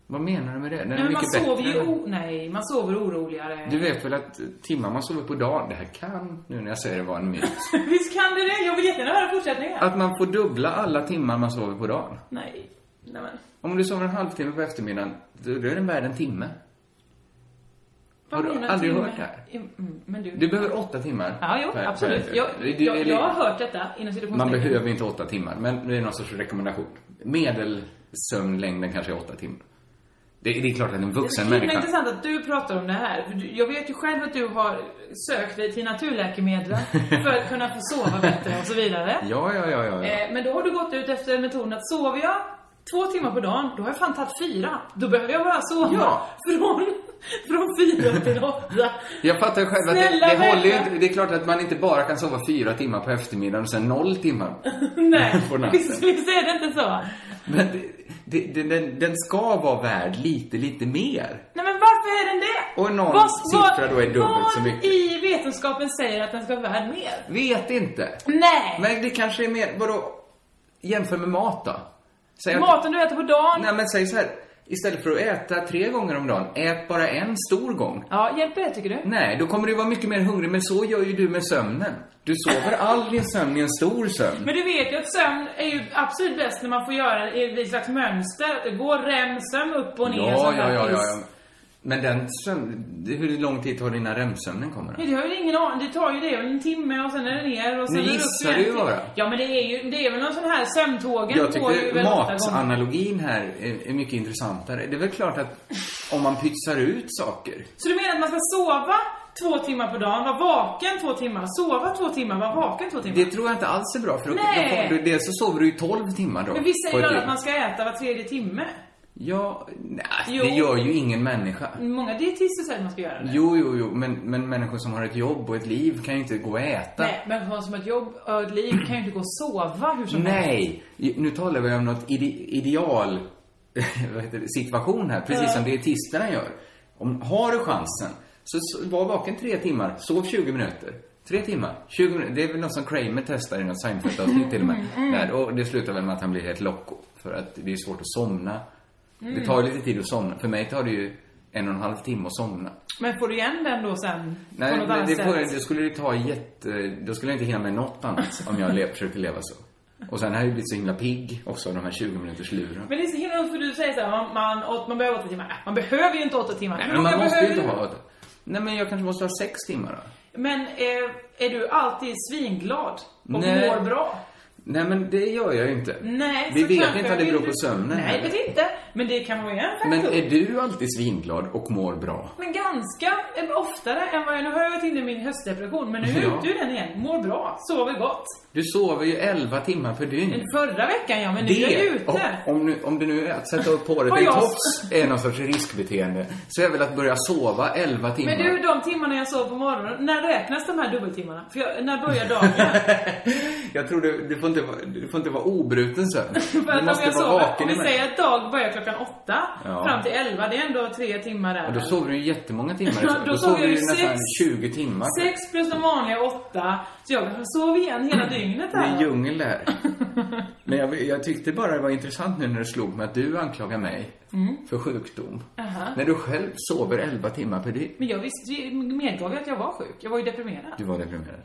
Speaker 7: Vad menar du med det? Den
Speaker 8: Nej, men man sover ju
Speaker 7: än-
Speaker 8: o- nej, man sover oroligare.
Speaker 7: Du vet väl att timmar man sover på dagen, det här kan, nu när jag säger det, vara en myt.
Speaker 8: Visst kan det det? Jag vill jättegärna höra fortsättningen.
Speaker 7: Att man får dubbla alla timmar man sover på dagen.
Speaker 8: Nej. Nej men.
Speaker 7: Om du sover en halvtimme på eftermiddagen, då då är den värd en timme.
Speaker 8: Vad
Speaker 7: Har du
Speaker 8: menar
Speaker 7: aldrig
Speaker 8: du
Speaker 7: hört
Speaker 8: med-
Speaker 7: det här?
Speaker 8: Mm, men du...
Speaker 7: Du behöver åtta timmar.
Speaker 8: Ja, jo,
Speaker 7: per- per-
Speaker 8: absolut. Jag,
Speaker 7: Det- det-
Speaker 8: jag,
Speaker 7: eller-
Speaker 8: jag har hört detta inom situationstecken.
Speaker 7: Man behöver inte åtta timmar, men det är någon sorts rekommendation. Medelsömnlängden kanske är åtta timmar. Det, det är klart att en vuxen
Speaker 8: Det är så himla
Speaker 7: människa...
Speaker 8: intressant att du pratar om det här. För du- Jag vet ju själv att du har sökt dig till naturläkemedlen för att kunna få sova bättre och så vidare.
Speaker 7: Ja, ja, ja, ja. ja.
Speaker 8: Eh, Men då har du gått ut efter metoden att sover jag två timmar på dagen, då har jag fan tagit fyra. Då behöver jag bara sova
Speaker 7: Ja.
Speaker 8: från, från fyra till åtta.
Speaker 7: Jag fattar ju själv att
Speaker 8: Snälla
Speaker 7: det, det håller ju
Speaker 8: vänta.
Speaker 7: inte. Det är klart att man inte bara kan sova fyra timmar på eftermiddagen och sen noll timmar
Speaker 8: Nej,
Speaker 7: på natten.
Speaker 8: visst, visst är det inte så?
Speaker 7: Men det, det, det, den, den ska vara värd lite, lite mer.
Speaker 8: Nej men varför är den det?
Speaker 7: Och någon siffra då är dubbelt
Speaker 8: vad
Speaker 7: så mycket.
Speaker 8: i vetenskapen säger att den ska vara värd mer?
Speaker 7: Vet inte.
Speaker 8: Nej!
Speaker 7: Men det kanske är mer, vadå? Jämför med mat då? Säg att-
Speaker 8: Maten du äter på dagen,
Speaker 7: Nej men säg så här. Istället för att äta tre gånger om dagen, ät bara en stor gång.
Speaker 8: ja hjälper det tycker du?
Speaker 7: Nej, då kommer du vara mycket mer hungrig, men så gör ju du med sömnen. Du sover all din sömn i en stor sömn.
Speaker 8: Men du vet ju att sömn är ju absolut bäst när man får göra det i ett slags mönster. Att det går remsöm upp och ner. och
Speaker 7: Ja,
Speaker 8: sånt
Speaker 7: ja,
Speaker 8: där
Speaker 7: ja, ja,
Speaker 8: piss.
Speaker 7: ja. Men den sömn, hur lång tid tar det innan REM-sömnen kommer då?
Speaker 8: Men det har ju ingen aning. Det tar ju det en timme och sen är det ner och sen
Speaker 7: Nu
Speaker 8: är det upp
Speaker 7: gissar
Speaker 8: igen.
Speaker 7: du ju bara.
Speaker 8: Ja men det är ju, det är väl någon sån här sömntågen
Speaker 7: Jag
Speaker 8: går ju
Speaker 7: tycker
Speaker 8: väl åtta gånger.
Speaker 7: matanalogin här är, är mycket intressantare. Det är väl klart att om man pytsar ut saker.
Speaker 8: Så du menar att man ska sova två timmar på dagen, vara vaken två timmar, sova två timmar, vara vaken två timmar?
Speaker 7: Det tror jag inte alls är bra för då, då
Speaker 8: Nej.
Speaker 7: får du, dels så sover du ju 12 timmar då.
Speaker 8: men vi
Speaker 7: på
Speaker 8: säger
Speaker 7: ett
Speaker 8: ju alla
Speaker 7: dygn.
Speaker 8: att man ska äta var tredje timme.
Speaker 7: Ja, nej,
Speaker 8: Jo.
Speaker 7: det gör ju ingen människa.
Speaker 8: Många dietister säger att man ska göra det.
Speaker 7: Jo, jo, jo, men, men människor som har ett jobb och ett liv kan ju inte gå och äta.
Speaker 8: Nej, men någon som har ett jobb och ett liv kan ju inte gå och sova hur som helst.
Speaker 7: Nej, i- nu talar vi om något ide ideal vad heter det, situation här, precis som dietisterna gör. Om, har du chansen, så, så var vaken tre timmar, sov 20 minuter. Tre timmar, 20 minuter. Det är väl något som Kramer testar i något Seinfeld-avsnitt till och med.
Speaker 8: Mm,
Speaker 7: Där, och det slutar väl med att han blir helt loco. För att det är svårt att somna.
Speaker 8: Mm.
Speaker 7: Det tar ju lite tid att somna. För mig tar det ju en och en halv timme att somna.
Speaker 8: Men får du igen den då sen? på
Speaker 7: Nej,
Speaker 8: något
Speaker 7: men
Speaker 8: annat
Speaker 7: det,
Speaker 8: sätt?
Speaker 7: får, det skulle ju ta jätte... Då skulle jag inte hinna med något annat om jag le, försökte leva så. Och sen har jag ju blivit så himla pigg också, de här 20 minuters luren.
Speaker 8: Men det är så himla roligt för du säger såhär, man, man, åt- man behöver åtta timmar. Äh, Man behöver ju inte åtta timmar.
Speaker 7: Nej,
Speaker 8: Hur
Speaker 7: men
Speaker 8: många
Speaker 7: man måste ju
Speaker 8: behöver
Speaker 7: inte
Speaker 8: du?
Speaker 7: ha det. Nej, men jag kanske måste ha sex timmar då.
Speaker 8: Men eh, är du alltid svinglad? Och
Speaker 7: Nej.
Speaker 8: mår bra?
Speaker 7: Nej, men det gör jag ju inte.
Speaker 8: Nej,
Speaker 7: Vi
Speaker 8: så
Speaker 7: vet
Speaker 8: kanske
Speaker 7: inte om det
Speaker 8: vill
Speaker 7: beror på
Speaker 8: du-
Speaker 7: sömnen
Speaker 8: Nej,
Speaker 7: heller.
Speaker 8: vet inte. Men det kan vara en faktor.
Speaker 7: Men
Speaker 8: Men,
Speaker 7: är du alltid svinglad och mår bra?
Speaker 8: ganska eh, oftare än vad jag... Nu har jag varit inne i min höstdepression, men nu är jag
Speaker 7: Ja.
Speaker 8: ute ur den igen. Mår bra, sover gott.
Speaker 7: Du sover ju 11 timmar per dygn.
Speaker 8: Förra veckan ja, men nu är jag ute.
Speaker 7: och om, nu, om det nu är att sätta upp håret
Speaker 8: Har
Speaker 7: i
Speaker 8: jag-
Speaker 7: tofs är någon sorts riskbeteende, så är väl att börja sova 11 timmar.
Speaker 8: Men du, de timmarna jag sov på morgonen, när räknas de här dubbeltimmarna? För jag, när börjar dagen?
Speaker 7: Jag tror du, du, får inte, vara- du får inte vara obruten sömn.
Speaker 8: För
Speaker 7: Du
Speaker 8: att om
Speaker 7: måste
Speaker 8: jag
Speaker 7: vara
Speaker 8: sover, om
Speaker 7: vaken
Speaker 8: vi
Speaker 7: i mig.
Speaker 8: säger att dag börjar klockan åtta
Speaker 7: Ja.
Speaker 8: fram till elva, det är ändå tre timmar där.
Speaker 7: Ja, då sover du ju jättemånga
Speaker 8: Ja,
Speaker 7: timmar.
Speaker 8: då
Speaker 7: då
Speaker 8: sover
Speaker 7: sover du ju
Speaker 8: jag ju
Speaker 7: nästan
Speaker 8: sex-
Speaker 7: 20 timmar.
Speaker 8: Sex plus de vanliga åtta, så jag kanske sover igen hela dygnet
Speaker 7: Det är en
Speaker 8: här.
Speaker 7: djungel där. Men jag, jag tyckte bara det var intressant nu när det slog mig att du anklagar mig för sjukdom.
Speaker 8: Mm. Aha.
Speaker 7: När du själv sover 11 timmar per dygn.
Speaker 8: Men jag visste, ju- medgav ju att jag var sjuk. Jag var ju deprimerad.
Speaker 7: Du var deprimerad.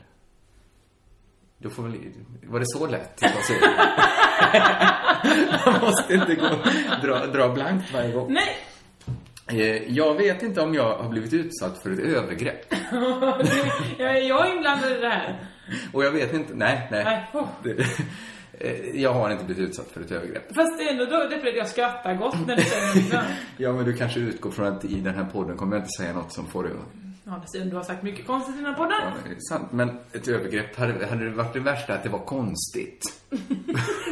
Speaker 7: Då får väl, var det så lätt? Vad säger du? Man måste inte gå, dra, dra blankt varje gång.
Speaker 8: Nej!
Speaker 7: Eh, Jag vet inte om jag har blivit utsatt för ett övergrepp.
Speaker 8: jag, är- jag är inblandad i det här.
Speaker 7: Och jag vet inte, nej, nej.
Speaker 8: Nej, oh.
Speaker 7: Det- eh, Jag har inte blivit utsatt för ett övergrepp.
Speaker 8: Fast det är ändå då- deprimerad, jag skrattar gott när du säger det. liksom.
Speaker 7: Ja, men du kanske utgår från att i den här podden kommer jag inte säga något som får dig att...
Speaker 8: Ja, fast du har sagt mycket konstigt i den här
Speaker 7: Ja,
Speaker 8: podden.
Speaker 7: det är sant. Men ett övergrepp, hade, hade det varit det värsta att det var konstigt?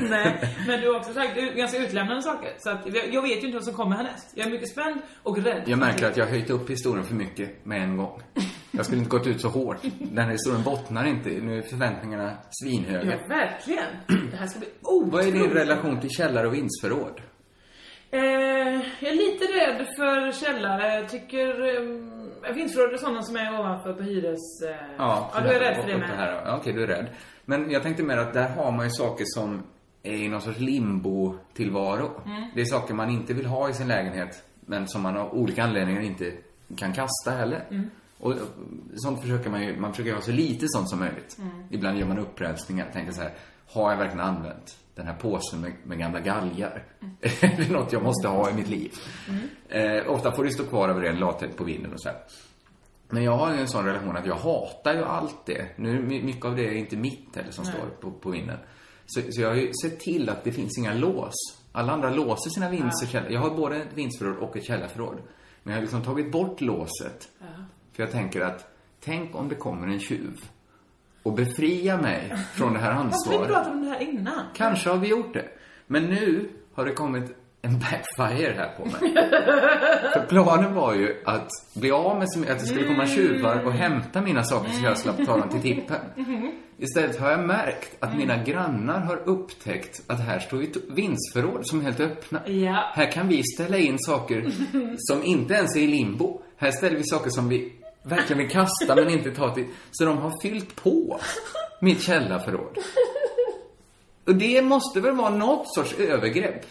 Speaker 8: Nej, men du har också sagt ut- ganska utlämnande saker. Så att jag, jag vet ju inte vad som kommer härnäst. Jag är mycket spänd och rädd.
Speaker 7: Jag märker att jag har höjt upp historien för mycket med en gång. Jag skulle inte gått ut så hårt. Den här historien bottnar inte. Nu är förväntningarna
Speaker 8: Ja,
Speaker 7: svinhöga.
Speaker 8: verkligen. Det här ska bli otroligt.
Speaker 7: Vad är din relation till källare och vindsförråd?
Speaker 8: Eh, jag är lite rädd för källare. Jag tycker... Eh, vindsförråd är sådana som är ovanför på hyres... Eh, ja, du är rädd för det
Speaker 7: och- och
Speaker 8: med.
Speaker 7: här. Ja, okej, du är rädd. Men jag tänkte mer att där har man ju saker som är i någon sorts limbo-tillvaro.
Speaker 8: Mm.
Speaker 7: Det är saker man inte vill ha i sin lägenhet, men som man av olika anledningar inte kan kasta heller.
Speaker 8: Mm.
Speaker 7: Och och sånt försöker man ju, man försöker ha så lite sånt som möjligt.
Speaker 8: Mm.
Speaker 7: Ibland gör man upprensningar, tänker så här, har jag verkligen använt den här påsen med, med gamla galgar?
Speaker 8: Mm.
Speaker 7: Är det något jag måste ha i mitt liv? Eh, ofta får det stå kvar över en latex på vinden och så här. Men jag har ju en sån relation att jag hatar ju allt det. Nu, my- mycket av det är inte mitt heller som står på, på vinden. Så, så jag har ju sett till att det finns inga lås. Alla andra låser sina vinst och källor. Jag har både ett vinstförråd och ett källarförråd. Men jag har liksom tagit bort låset. För jag tänker att, tänk om det kommer en tjuv och befria mig från det här
Speaker 8: Varför har vi
Speaker 7: ansvaret.
Speaker 8: pratat om det här innan?
Speaker 7: Kanske har vi gjort det. Men nu har det kommit en backfire här på mig. För planen var ju att bli av med som, att det skulle komma tjuvar och hämta mina saker så jag slapp ta dem till tippen. Istället har jag märkt att mina grannar har upptäckt att här står ju t- vindsförråd som är helt öppna.
Speaker 8: Ja.
Speaker 7: Här kan vi ställa in saker som inte ens är i limbo. Här ställer vi saker som vi verkligen vill kasta men inte ta till. Så de har fyllt på mitt källarförråd. Och det måste väl vara något sorts övergrepp?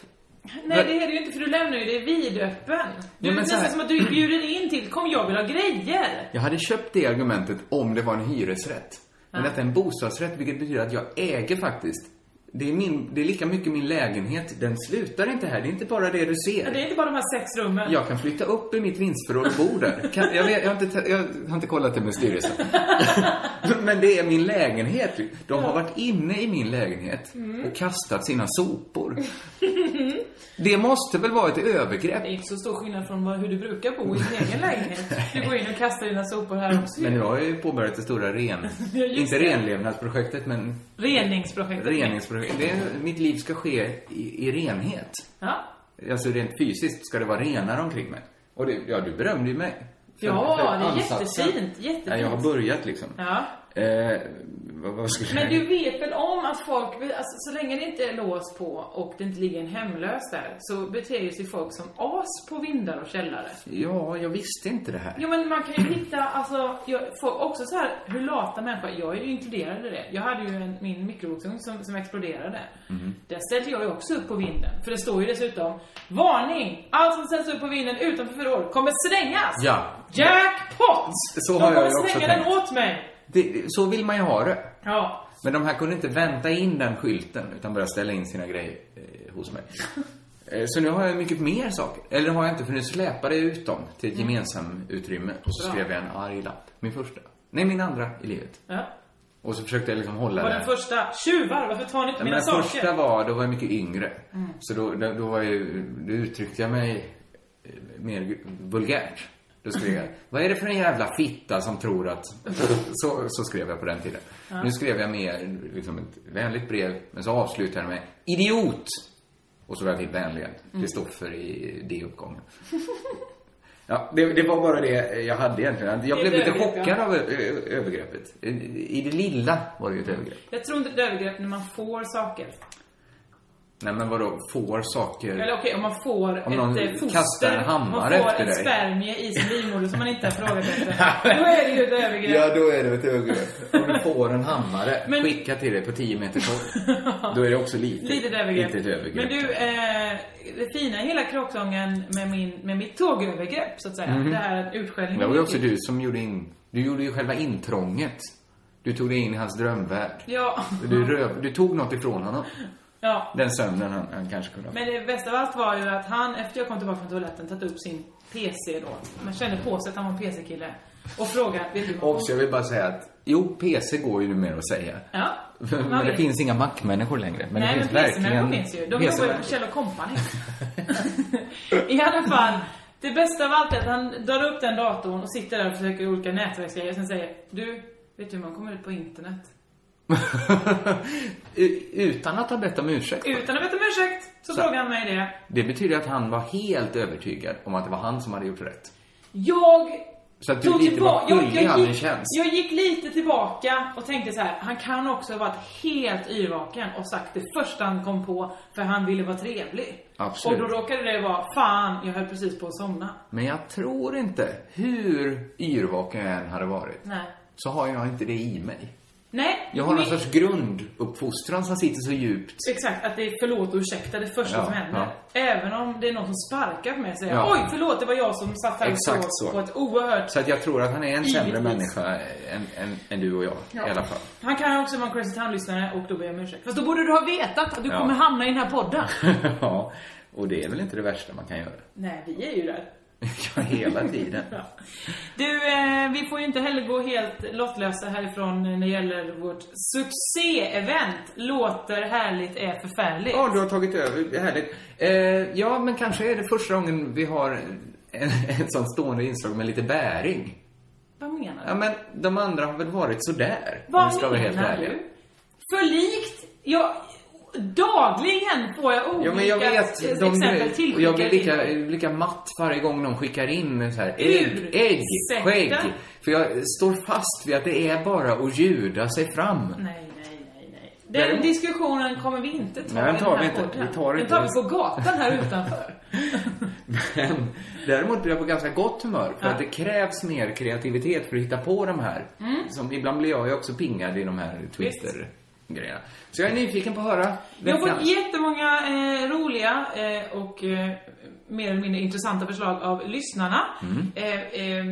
Speaker 8: Nej, det är det ju inte för du lämnar ju det vidöppen. Du,
Speaker 7: Ja, men
Speaker 8: det är
Speaker 7: så här-
Speaker 8: nästan som att du bjuder in till, kom jag vill ha grejer.
Speaker 7: Jag hade köpt det argumentet om det var en hyresrätt. Men detta är en bostadsrätt, vilket betyder att jag äger faktiskt. Det är, min, det är lika mycket min lägenhet. Den slutar inte här. Det är inte bara det du
Speaker 8: Men Det är
Speaker 7: ser.
Speaker 8: inte bara de här sex rummen.
Speaker 7: Jag kan flytta upp i mitt vinstförråd och bo där. Kan, jag, vet, jag, har inte, te- jag har inte kollat det med styrelsen. Men det är min lägenhet. De har varit inne i min lägenhet
Speaker 8: Mm.
Speaker 7: och kastat sina sopor. Det måste väl vara ett övergrepp?
Speaker 8: Det är inte så stor skillnad från vad, hur du brukar bo i din egen lägenhet. Du går in och kastar dina sopor här också.
Speaker 7: Men nu har jag ju påbörjat det stora ren...
Speaker 8: Ja, just
Speaker 7: inte
Speaker 8: det.
Speaker 7: renlevnadsprojektet, men
Speaker 8: Reningsprojektet.
Speaker 7: reningsprojektet. Det är, mitt liv ska ske i, i renhet.
Speaker 8: Ja.
Speaker 7: Alltså rent fysiskt ska det vara renare omkring mig. Och det, ja, du berömde ju mig. För-
Speaker 8: Ja,
Speaker 7: för
Speaker 8: det är
Speaker 7: ansatsen.
Speaker 8: jättefint, jättefint.
Speaker 7: Ja, jag har börjat liksom.
Speaker 8: Ja.
Speaker 7: Eh, vad, vad skulle
Speaker 8: Men
Speaker 7: jag...
Speaker 8: du vet väl om att folk, alltså, så länge det inte är lås på och det inte ligger en hemlös där, så beter ju sig folk som as på vindar och källare.
Speaker 7: Ja, jag visste inte det här.
Speaker 8: Jo men man kan ju hitta, alltså, jag får också så här, hur lata människor, jag är ju inkluderad i det. Jag hade ju en, min mikrovågsugn som, som exploderade.
Speaker 7: Mhm.
Speaker 8: Där ställde jag ju också upp på vinden. För det står ju dessutom, varning! Allt som ställs upp på vinden utanför förråd kommer slängas!
Speaker 7: Ja.
Speaker 8: Jackpot!
Speaker 7: Så
Speaker 8: De
Speaker 7: har jag
Speaker 8: kommer
Speaker 7: ju också
Speaker 8: slänga den
Speaker 7: tänkt.
Speaker 8: åt mig!
Speaker 7: Det, det- så vill man ju ha det.
Speaker 8: Ja.
Speaker 7: Men de här kunde inte vänta in den skylten utan började ställa in sina grejer eh, hos mig. Eh, Så nu har jag mycket mer saker. Eller det har jag inte, för nu släpade jag ut dem till ett gemensamt utrymme. Och så
Speaker 8: Bra.
Speaker 7: skrev jag en arg lapp. Min första. Nej, min andra i livet.
Speaker 8: ja.
Speaker 7: Och så försökte jag liksom hålla
Speaker 8: Och
Speaker 7: det.
Speaker 8: den första, tjuvar, varför tar ni inte
Speaker 7: Ja, men
Speaker 8: mina
Speaker 7: den
Speaker 8: saker? Mm.
Speaker 7: första var, då var jag mycket yngre. Så då, då, då var jag, ju- då uttryckte jag mig eh, mer vulgärt. Då skrev
Speaker 8: Mm.
Speaker 7: jag, vad är det för en jävla fitta som tror att... Så, så skrev jag på den tiden. Nu skrev jag mer liksom ett vänligt brev, men så avslutade jag med, idiot! Och så var jag typ till vänligen.
Speaker 8: Mm.
Speaker 7: Det stod för i D-uppgången. Ja, det, det var bara det jag hade egentligen. Jag
Speaker 8: Det
Speaker 7: blev
Speaker 8: är ett
Speaker 7: lite
Speaker 8: övergrepp,
Speaker 7: chockad av ö- ö- övergreppet. I i det lilla var det ju ett övergrepp.
Speaker 8: Jag tror inte det är ett övergrepp när man får saker.
Speaker 7: Nej men vadå, får saker?
Speaker 8: Eller okej, om man får
Speaker 7: Om
Speaker 8: ett
Speaker 7: någon
Speaker 8: eh, foster.
Speaker 7: kastar en hammare
Speaker 8: man får
Speaker 7: efter
Speaker 8: en
Speaker 7: dig.
Speaker 8: spermie i sin livmoder som man inte har frågat efter. Då är det ju ett övergrepp.
Speaker 7: då är det ett övergrepp. Om du får en hammare
Speaker 8: Men-
Speaker 7: skickad till dig på 10 meter håll, då är det också lite,
Speaker 8: Litet övergrepp.
Speaker 7: Lite ett övergrepp.
Speaker 8: Men du, eh, det fina i hela kråksången med, min, med mitt tågövergrepp, så att säga. Det här utskällningen.
Speaker 7: Mhm. Det var ju också du som gjorde in... Du gjorde ju själva intrånget. Du tog dig in i hans drömvärld.
Speaker 8: Ja.
Speaker 7: Du, röv, du tog något ifrån honom.
Speaker 8: ja.
Speaker 7: Den sömnen han, han kanske kunde ha.
Speaker 8: Men det bästa av allt var ju att han, efter jag kom tillbaka från toaletten, tagit upp sin PC då. Man kände på sig att han var en PC-kille. Och frågade, vet du vad
Speaker 7: Och så jag vill bara säga att, jo, PC går ju numera att säga.
Speaker 8: Ja.
Speaker 7: Men det
Speaker 8: man vet.
Speaker 7: finns inga Mac-människor längre. Men
Speaker 8: Nej,
Speaker 7: det
Speaker 8: men
Speaker 7: finns
Speaker 8: PC-människor
Speaker 7: verkligen...
Speaker 8: finns ju. De jobbar ju på
Speaker 7: PC-människor.
Speaker 8: Kjell Company. I alla fall, det bästa av allt är att han drar upp den datorn och sitter där och försöker olika nätverksgrejer och sen säger Du, vet du hur man kommer ut på internet?
Speaker 7: U- Utan att ha bett om ursäkt.
Speaker 8: Utan att veta om ursäkt så,
Speaker 7: Så.
Speaker 8: frågar han mig det.
Speaker 7: Det betyder att han var helt övertygad om att det var han som hade gjort rätt.
Speaker 8: Jag
Speaker 7: Så att du
Speaker 8: tog
Speaker 7: lite var
Speaker 8: tillbaka... Jag,
Speaker 7: skyldig
Speaker 8: jag,
Speaker 7: han en
Speaker 8: gick,
Speaker 7: tjänst.
Speaker 8: jag gick lite tillbaka och tänkte så här, han kan också ha varit helt yrvaken och sagt det första han kom på för han ville vara trevlig.
Speaker 7: Absolut.
Speaker 8: Och då råkade det vara, fan, jag höll precis på att somna.
Speaker 7: Men jag tror inte, hur yrvaken jag än hade varit,
Speaker 8: Nej.
Speaker 7: så har jag inte det i mig.
Speaker 8: Nej.
Speaker 7: Jag har
Speaker 8: min-
Speaker 7: någon sorts grunduppfostran som sitter så djupt.
Speaker 8: Exakt, att det är förlåt och ursäkta det första
Speaker 7: Ja,
Speaker 8: som händer. Även om det är någon som sparkar på mig och säger
Speaker 7: Ja.
Speaker 8: oj förlåt det var jag som satt här och
Speaker 7: Exakt
Speaker 8: såg
Speaker 7: så.
Speaker 8: på ett oerhört...
Speaker 7: Så att jag tror att han är en sämre
Speaker 8: Givetvis.
Speaker 7: människa än, än, än du och jag, i alla fall.
Speaker 8: Han kan också vara en Crazy Town-lyssnare och då ber jag om ursäkt. Fast då borde du ha vetat att du
Speaker 7: Ja.
Speaker 8: kommer hamna i den här podden.
Speaker 7: ja, och det är väl inte det värsta man kan göra.
Speaker 8: Nej, vi är ju där.
Speaker 7: Ja, hela tiden.
Speaker 8: Du, eh, vi får ju inte heller gå helt lottlösa härifrån när det gäller vårt succé-event. Låter härligt är förfärligt.
Speaker 7: Ja, du har tagit över. Det är Härligt. Eh, ja, men kanske är det första gången vi har en, ett sånt stående inslag med lite bäring.
Speaker 8: Vad menar du?
Speaker 7: Ja, men de andra har väl varit sådär. om vi
Speaker 8: Vad
Speaker 7: ska vara helt
Speaker 8: menar
Speaker 7: ärliga.
Speaker 8: du? För likt, jag, dagligen får jag olika
Speaker 7: Ja, men jag vet. De,
Speaker 8: exempel till.
Speaker 7: och jag blir lika, lika matt varje gång de skickar in så här, ägg, ägg,
Speaker 8: Ursäkta?
Speaker 7: skägg. För jag står fast vid att det är bara att ljuda sig fram.
Speaker 8: Nej, nej, nej, nej. Den diskussionen kommer vi inte ta
Speaker 7: Nej, den
Speaker 8: i
Speaker 7: tar
Speaker 8: här
Speaker 7: vi inte.
Speaker 8: podden.
Speaker 7: Vi tar inte.
Speaker 8: Den tar vi på gatan här utanför.
Speaker 7: Men däremot blir jag på ganska gott humör för att det krävs mer kreativitet för att hitta på de här.
Speaker 8: Mm.
Speaker 7: Som, ibland blir jag ju också pingad i de här twister-grejerna. Så jag är nyfiken på att höra
Speaker 8: Vi har fått
Speaker 7: veckans.
Speaker 8: jättemånga eh, roliga eh, och eh, mer eller mindre intressanta förslag av lyssnarna.
Speaker 7: Mm.
Speaker 8: Eh, eh,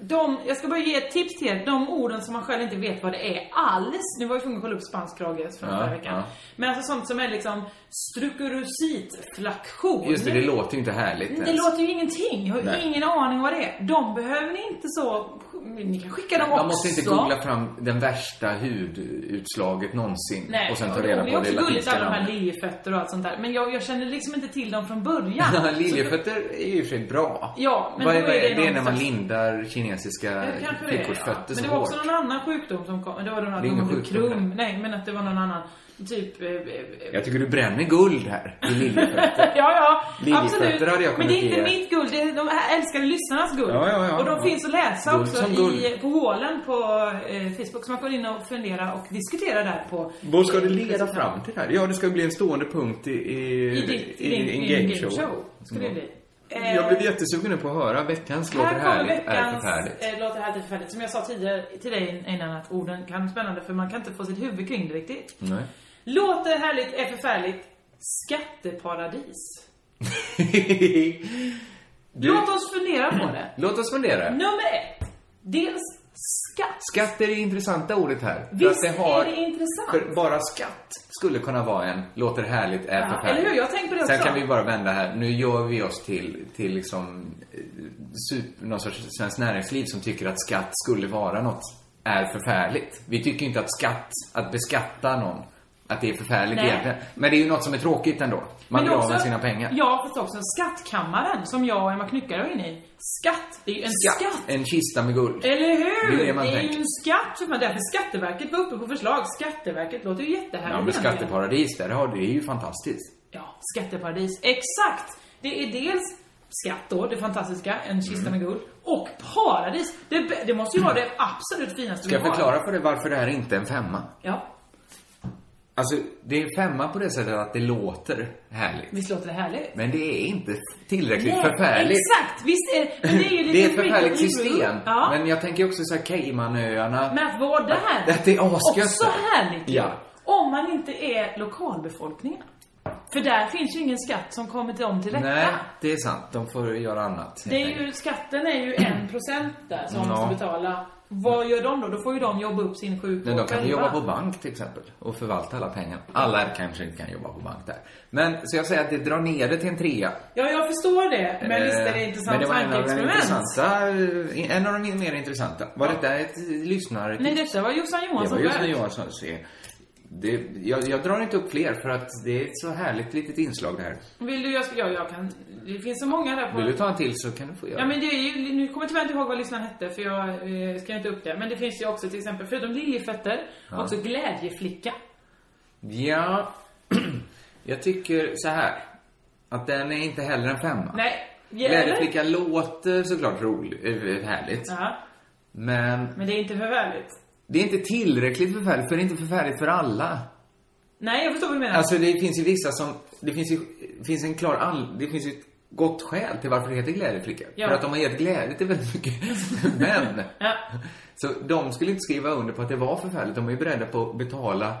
Speaker 8: de, jag ska bara ge ett tips till er. De orden som man själv inte vet vad det är alls. Nu var jag tvungen att kolla upp spansk krage från
Speaker 7: Ja,
Speaker 8: förra veckan.
Speaker 7: ja.
Speaker 8: Men alltså sånt som är liksom strukurositflaktion.
Speaker 7: Just det, det låter ju inte härligt
Speaker 8: Det
Speaker 7: ens.
Speaker 8: låter ju ingenting. Jag har
Speaker 7: Nej.
Speaker 8: ingen aning vad det är. De behöver ni inte så... Ni kan skicka dem också.
Speaker 7: Man måste inte googla fram den värsta hudutslaget någonsin
Speaker 8: Nej,
Speaker 7: och sen ta
Speaker 8: det
Speaker 7: reda
Speaker 8: är
Speaker 7: på det
Speaker 8: också gulligt
Speaker 7: latinska
Speaker 8: alla de här
Speaker 7: namnet.
Speaker 8: liljefötter och allt sånt där. Men jag, jag känner liksom inte till dem från början.
Speaker 7: Ja, Liljefötter är ju i och för sig bra.
Speaker 8: Ja, men
Speaker 7: Vad
Speaker 8: då
Speaker 7: är,
Speaker 8: är
Speaker 7: vad
Speaker 8: det
Speaker 7: är det är
Speaker 8: någon
Speaker 7: när man
Speaker 8: slags-
Speaker 7: lindar kinesiska
Speaker 8: Det kanske det är,
Speaker 7: flickors
Speaker 8: ja.
Speaker 7: fötter
Speaker 8: Men
Speaker 7: så
Speaker 8: det var
Speaker 7: hårt.
Speaker 8: också någon annan sjukdom som kom. Det var nog att
Speaker 7: Det är ingen
Speaker 8: de blev
Speaker 7: sjukdom,
Speaker 8: krum. Nej, men att det var någon annan. Typ... eh, eh,
Speaker 7: Jag tycker du bränner guld här i liljefötter.
Speaker 8: ja, ja.
Speaker 7: Liljefötter
Speaker 8: Absolut.
Speaker 7: hade jag
Speaker 8: Men det är
Speaker 7: kunnat
Speaker 8: inte
Speaker 7: ge.
Speaker 8: mitt guld. Det är de här älskade lyssnarnas guld.
Speaker 7: Ja, ja, ja.
Speaker 8: Och de finns att läsa
Speaker 7: Guld
Speaker 8: också
Speaker 7: som
Speaker 8: i,
Speaker 7: guld.
Speaker 8: på hålen på eh, Facebook. Så man går in och fundera och diskutera där på...
Speaker 7: Vad ska det leda fram till här? Ja, det ska bli en stående punkt i... I,
Speaker 8: I ditt- din- din
Speaker 7: gameshow. Mm.
Speaker 8: gameshow, ska det
Speaker 7: Ja.
Speaker 8: bli.
Speaker 7: Jag blev jättesugen nu på att höra veckans låter
Speaker 8: Här kommer
Speaker 7: härligt, är
Speaker 8: veckans
Speaker 7: förfärligt.
Speaker 8: eh, låter härligt är förfärligt. Som jag sa tidigare till dig innan att orden kan vara spännande för man kan inte få sitt huvud kring det riktigt.
Speaker 7: Nej.
Speaker 8: Låter härligt är förfärligt. Skatteparadis. eh,
Speaker 7: Du,
Speaker 8: Låt oss fundera på det.
Speaker 7: låt oss fundera.
Speaker 8: Nummer ett. Dels skatt.
Speaker 7: Skatt är det intressanta ordet här. För
Speaker 8: Visst
Speaker 7: att det har,
Speaker 8: är det intressant?
Speaker 7: För bara skatt skulle kunna vara en låter härligt, är
Speaker 8: Ja,
Speaker 7: förfärligt.
Speaker 8: eller hur? Jag tänkte på det
Speaker 7: Sen
Speaker 8: också.
Speaker 7: kan vi bara vända här. Nu gör vi oss till, till liksom eh, super, någon sorts svenskt näringsliv som tycker att skatt skulle vara något är förfärligt. Vi tycker inte att skatt, att beskatta någon, att det är förfärligt
Speaker 8: Nej.
Speaker 7: egentligen. Men det är ju något som är tråkigt ändå. Man
Speaker 8: Men det är
Speaker 7: drar av
Speaker 8: också-
Speaker 7: med sina pengar.
Speaker 8: Ja, fast också skattkammaren som jag och Emma Knyckare var inne i. Skatt. Det är ju en skatt.
Speaker 7: En kista med guld.
Speaker 8: Eller hur?
Speaker 7: Det är det man
Speaker 8: det är ju
Speaker 7: tänker.
Speaker 8: en skatt. för man- Därför Skatteverket var uppe på förslag. Skatteverket låter ju jättehärligt.
Speaker 7: Ja, men
Speaker 8: egentligen.
Speaker 7: skatteparadis, där har det är ju fantastiskt.
Speaker 8: Ja, skatteparadis. Exakt! Det är dels skatt då, det fantastiska, en kista
Speaker 7: Mm.
Speaker 8: med guld. Och paradis! Det, bä- det måste ju vara det absolut finaste
Speaker 7: Ska jag förklara för dig varför det här inte är en femma?
Speaker 8: Ja,
Speaker 7: Alltså, det är femma på det sättet att det låter härligt.
Speaker 8: visst låter det härligt?
Speaker 7: Men det är inte tillräckligt
Speaker 8: Nej,
Speaker 7: förfärligt.
Speaker 8: Exakt! Visst är men det är ju lite
Speaker 7: Det är ett
Speaker 8: freak of
Speaker 7: förfärligt
Speaker 8: the
Speaker 7: system.
Speaker 8: room. Ja. Men,
Speaker 7: Men jag tänker också såhär Caymanöarna.
Speaker 8: att vara där,
Speaker 7: Att det är asgött
Speaker 8: också
Speaker 7: där.
Speaker 8: härligt ju.
Speaker 7: Ja.
Speaker 8: Om man inte är lokalbefolkningen. För där finns ju ingen skatt som kommer till dem till rätta.
Speaker 7: Nej, det är sant. De får göra annat.
Speaker 8: Det
Speaker 7: helt
Speaker 8: är ju,
Speaker 7: enkelt. Mm.
Speaker 8: skatten är ju en procent där som man
Speaker 7: Ja.
Speaker 8: måste betala. Vad gör de då? Då får ju de jobba upp sin sjukvård
Speaker 7: Men de kan ju
Speaker 8: själva.
Speaker 7: jobba på bank till exempel och förvalta alla pengar. Alla kanske inte kan jobba på bank där. Men så jag säger att det drar ner det till en trea.
Speaker 8: Ja, jag förstår det. Men visst är det
Speaker 7: Eh,
Speaker 8: ett intressant
Speaker 7: Men det var en av de
Speaker 8: tankeexperiment?
Speaker 7: intressanta, eh, en av de mer intressanta. Var detta ett lyssnare
Speaker 8: Nej, detta var Jossan
Speaker 7: Det var
Speaker 8: Johansson
Speaker 7: just när
Speaker 8: själv.
Speaker 7: jag som ser. Det, jag, jag drar inte upp fler för att det är ett så härligt litet inslag det här.
Speaker 8: Vill du, jag, ska- ja, jag kan... Det finns så många där på...
Speaker 7: Vill du ta en till så kan du få göra
Speaker 8: Ja, men det är ju, nu kommer jag tyvärr inte ihåg vad lyssnaren hette för jag eh, skrev inte upp det. Men det finns ju också till exempel, förutom liljefötter, också glädjeflicka.
Speaker 7: Ja, jag tycker så här. Att den är inte heller en femma.
Speaker 8: Nej, ja, eller?
Speaker 7: Glädjeflicka låter såklart roligt, eh, härligt.
Speaker 8: Ja,
Speaker 7: Men
Speaker 8: men det är inte förvärligt.
Speaker 7: det är inte tillräckligt förfärligt, för det är inte förfärligt för alla.
Speaker 8: Nej, jag förstår vad du menar.
Speaker 7: Alltså det finns ju vissa som, det finns ju, det finns en klar all, det finns ju ett gott skäl till varför det heter glädjeflicka.
Speaker 8: Ja.
Speaker 7: För att de har gett glädje till väldigt mycket män.
Speaker 8: Ja.
Speaker 7: Så de skulle inte skriva under på att det var förfärligt. De är ju beredda på att betala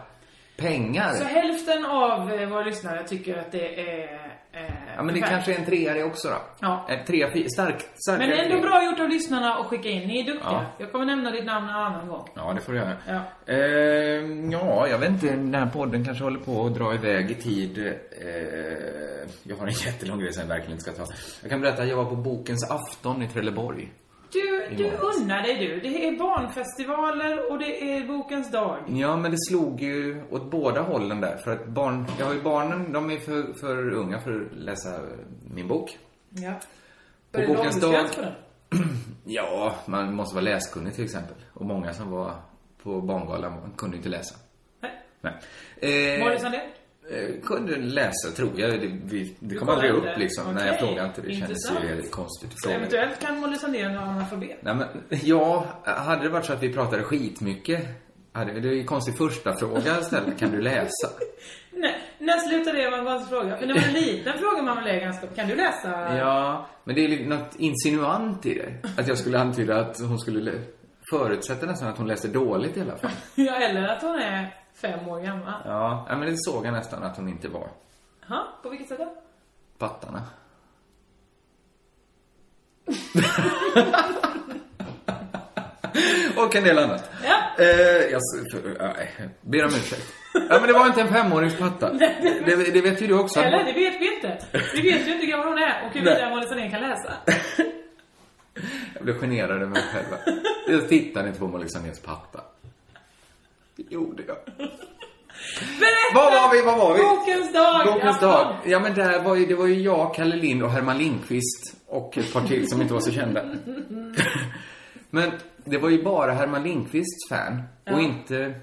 Speaker 7: pengar.
Speaker 8: Så hälften av eh, våra lyssnare tycker att det är... Eh,
Speaker 7: Ja, men det kanske är en trea det också då.
Speaker 8: Ja.
Speaker 7: En trea, fi- stark, stark
Speaker 8: Men ändå bra gjort av lyssnarna att skicka in. Ni är duktiga.
Speaker 7: Ja.
Speaker 8: Jag kommer nämna ditt namn en annan gång.
Speaker 7: Ja, det får du göra.
Speaker 8: Ja.
Speaker 7: Ehm, ja, jag vet inte. Den här podden kanske håller på att dra iväg i tid. Eh, jag har en jättelång grej som jag verkligen inte ska ta. Jag kan berätta, jag var på Bokens afton i Trelleborg.
Speaker 8: Du,
Speaker 7: I
Speaker 8: du
Speaker 7: morgon.
Speaker 8: unnar dig du. Det är barnfestivaler och det är bokens dag.
Speaker 7: Ja, men det slog ju åt båda hållen där. För att barn, jag har ju barnen, de är för, för unga för att läsa min bok.
Speaker 8: Ja.
Speaker 7: Var det Bokens dag- åldersgräns på
Speaker 8: den?
Speaker 7: Ja, man måste vara läskunnig till exempel. Och många som var på Barngalan kunde inte läsa.
Speaker 8: Nej.
Speaker 7: Nej. Eh,
Speaker 8: Var det som det?
Speaker 7: Eh, kunde läsa, tror jag. Det, vi, det kom
Speaker 8: kollade
Speaker 7: aldrig upp
Speaker 8: inte?
Speaker 7: liksom. Nej,
Speaker 8: Okej.
Speaker 7: jag frågade inte. Det kändes ju
Speaker 8: Intressant.
Speaker 7: konstigt att
Speaker 8: Så
Speaker 7: fråga.
Speaker 8: eventuellt kan Molly Sandén vara analfabet.
Speaker 7: Nej, men, ja, hade det varit så att vi pratade skitmycket. Hade, det är ju en konstig första fråga istället. Kan du läsa?
Speaker 8: Nej, när slutade det vara en konstig fråga? För när man är liten frågar man väl det ganska Kan du läsa?
Speaker 7: Ja, men det är lite något insinuant i det. Att jag skulle antyda att hon skulle lä- förutsätta nästan att hon läste dåligt i alla fall.
Speaker 8: Ja, eller att hon är fem år gammal.
Speaker 7: Ja, ja, men det såg jag nästan att hon inte var.
Speaker 8: Jaha, på vilket sätt då?
Speaker 7: Pattarna. Och en del annat.
Speaker 8: Ja.
Speaker 7: Eh, jag s- för- nej, ber om ursäkt. Ja, men det var inte en femårings patta. Det, det vet ju du också.
Speaker 8: Eller, det vet vi inte. Vi vet ju inte hur gammal hon är och hur
Speaker 7: Nej.
Speaker 8: vidare Molly Sandén kan läsa.
Speaker 7: Jag blev generad över mig själv. Jag tittade inte på Molly Sandéns patta. Det gjorde jag.
Speaker 8: Berätta!
Speaker 7: Var var vi, var var vi?
Speaker 8: Bokens dag!
Speaker 7: Bokens
Speaker 8: afton.
Speaker 7: dag. Ja, men där var ju, det var ju jag, Kalle Lind och Herman Lindqvist och ett par till som inte var så kända. men det var ju bara Herman Lindqvists fan och inte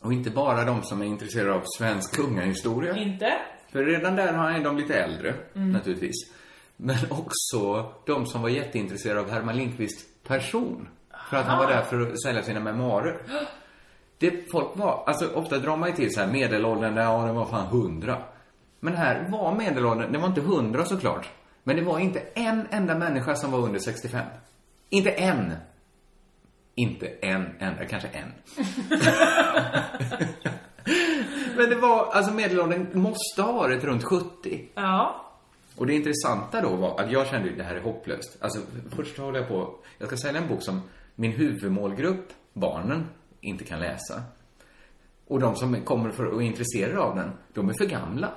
Speaker 7: och inte bara de som är intresserade av svensk kungahistoria.
Speaker 8: Inte?
Speaker 7: För redan där har han ju de lite äldre, naturligtvis. Men också de som var jätteintresserade av Herman Lindqvists person. För att han var där för att sälja sina memoarer. Det folk var, alltså ofta drar man ju till så här medelåldern, ja den var fan hundra. Men här var medelåldern, det var inte hundra såklart. Men det var inte en enda människa som var under 65. Inte en. Inte en enda, kanske en. Men det var, alltså medelåldern måste ha varit runt 70.
Speaker 8: Ja.
Speaker 7: Och det intressanta då var att jag kände ju det här är hopplöst. Alltså först håller jag på, jag ska sälja en bok som min huvudmålgrupp, barnen, inte kan läsa. Och de som kommer för och är intresserade av den, de är för gamla.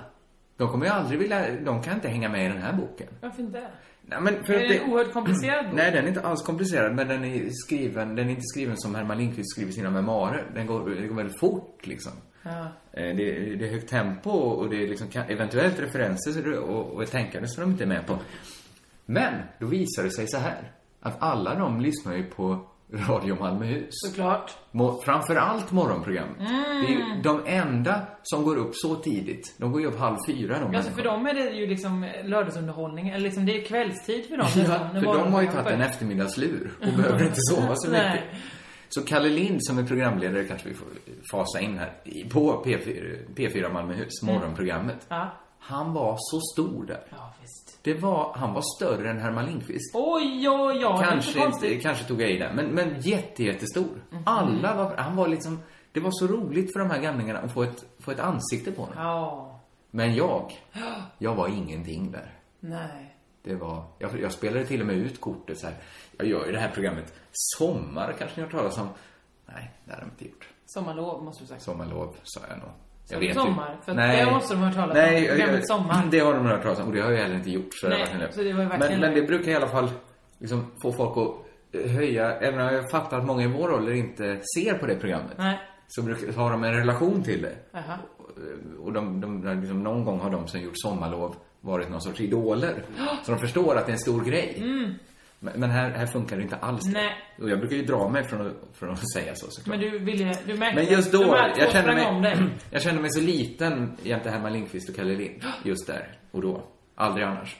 Speaker 7: De kommer ju aldrig vilja, de kan inte hänga med i den här boken.
Speaker 8: Varför inte?
Speaker 7: Nej, men för
Speaker 8: Är
Speaker 7: att
Speaker 8: det en oerhört komplicerad bok?
Speaker 7: Nej, den är inte alls komplicerad, men den är skriven, den är inte skriven som Herman Lindqvist skriver sina memoarer. Den går, det går väldigt fort liksom.
Speaker 8: Ja.
Speaker 7: Eh, Det, det är högt tempo och det är liksom kan- eventuellt referenser så det- och, och ett tänkande som de inte är med på. Men då visar det sig så här att alla de lyssnar ju på Radio Malmöhus.
Speaker 8: Såklart.
Speaker 7: Mo- framförallt morgonprogrammet.
Speaker 8: Mm.
Speaker 7: Det är ju de enda som går upp så tidigt. De går ju upp halv fyra de
Speaker 8: Alltså för
Speaker 7: människorna.
Speaker 8: dem är det ju liksom lördagsunderhållning, eller liksom det är kvällstid för dem.
Speaker 7: Ja,
Speaker 8: nästan,
Speaker 7: för
Speaker 8: när
Speaker 7: de har ju
Speaker 8: morgonen
Speaker 7: tagit
Speaker 8: kommer.
Speaker 7: en eftermiddagslur och behöver inte sova så mycket.
Speaker 8: Nej.
Speaker 7: Så Kalle Lind som är programledare kanske vi får fasa in här i- på P4, P4 Malmöhus,
Speaker 8: Mm.
Speaker 7: morgonprogrammet.
Speaker 8: Ja.
Speaker 7: Han var så stor där.
Speaker 8: Ja, visst.
Speaker 7: Det var, han var större än Herman Lindqvist.
Speaker 8: Oj, oj, oj. det
Speaker 7: kanske,
Speaker 8: är inte
Speaker 7: inte, kanske tog jag i där, men, men jätte, jättestor.
Speaker 8: Mhm.
Speaker 7: Alla var, han var liksom, det var så roligt för de här gamlingarna att få ett, få ett ansikte på honom.
Speaker 8: Ja.
Speaker 7: Men jag, jag var ingenting där.
Speaker 8: Nej.
Speaker 7: Det var, jag, jag spelade till och med ut kortet så här. Jag gör ju det här programmet Sommar kanske ni har hört talas om. Nej, det hade de inte gjort.
Speaker 8: Sommarlov måste du säga.
Speaker 7: Sommarlov sa jag nog. Jag
Speaker 8: Som
Speaker 7: vet
Speaker 8: sommar,
Speaker 7: ju.
Speaker 8: för att det måste de ha hört talas om.
Speaker 7: Nej, jag- Mm,
Speaker 8: Programmet Sommar.
Speaker 7: Det har de hört talas om och det har jag heller inte gjort. Så det
Speaker 8: Nej,
Speaker 7: har varit en
Speaker 8: så det var ju verkligen
Speaker 7: men, men det
Speaker 8: lögn.
Speaker 7: brukar i alla fall liksom få folk att eh, höja, även om jag fattar att många i vår ålder inte ser på det programmet.
Speaker 8: Nej.
Speaker 7: Så brukar, har de en relation till det.
Speaker 8: Jaha.
Speaker 7: Och de, de, de, liksom, någon gång har de som gjort sommarlov varit någon sorts idoler. Så de förstår att det är en stor grej. Men, men här, här funkar det inte alls. det.
Speaker 8: Mm. Nej.
Speaker 7: Och jag brukar ju dra mig från, att- från att säga så såklart.
Speaker 8: Men du ville, du märkte
Speaker 7: Men just
Speaker 8: att de
Speaker 7: då,
Speaker 8: här två
Speaker 7: jag kände,
Speaker 8: sprang om
Speaker 7: mig,
Speaker 8: dig.
Speaker 7: jag kände mig så liten jämte Herman Lindqvist och Kalle Lind. Just där och då. Aldrig annars.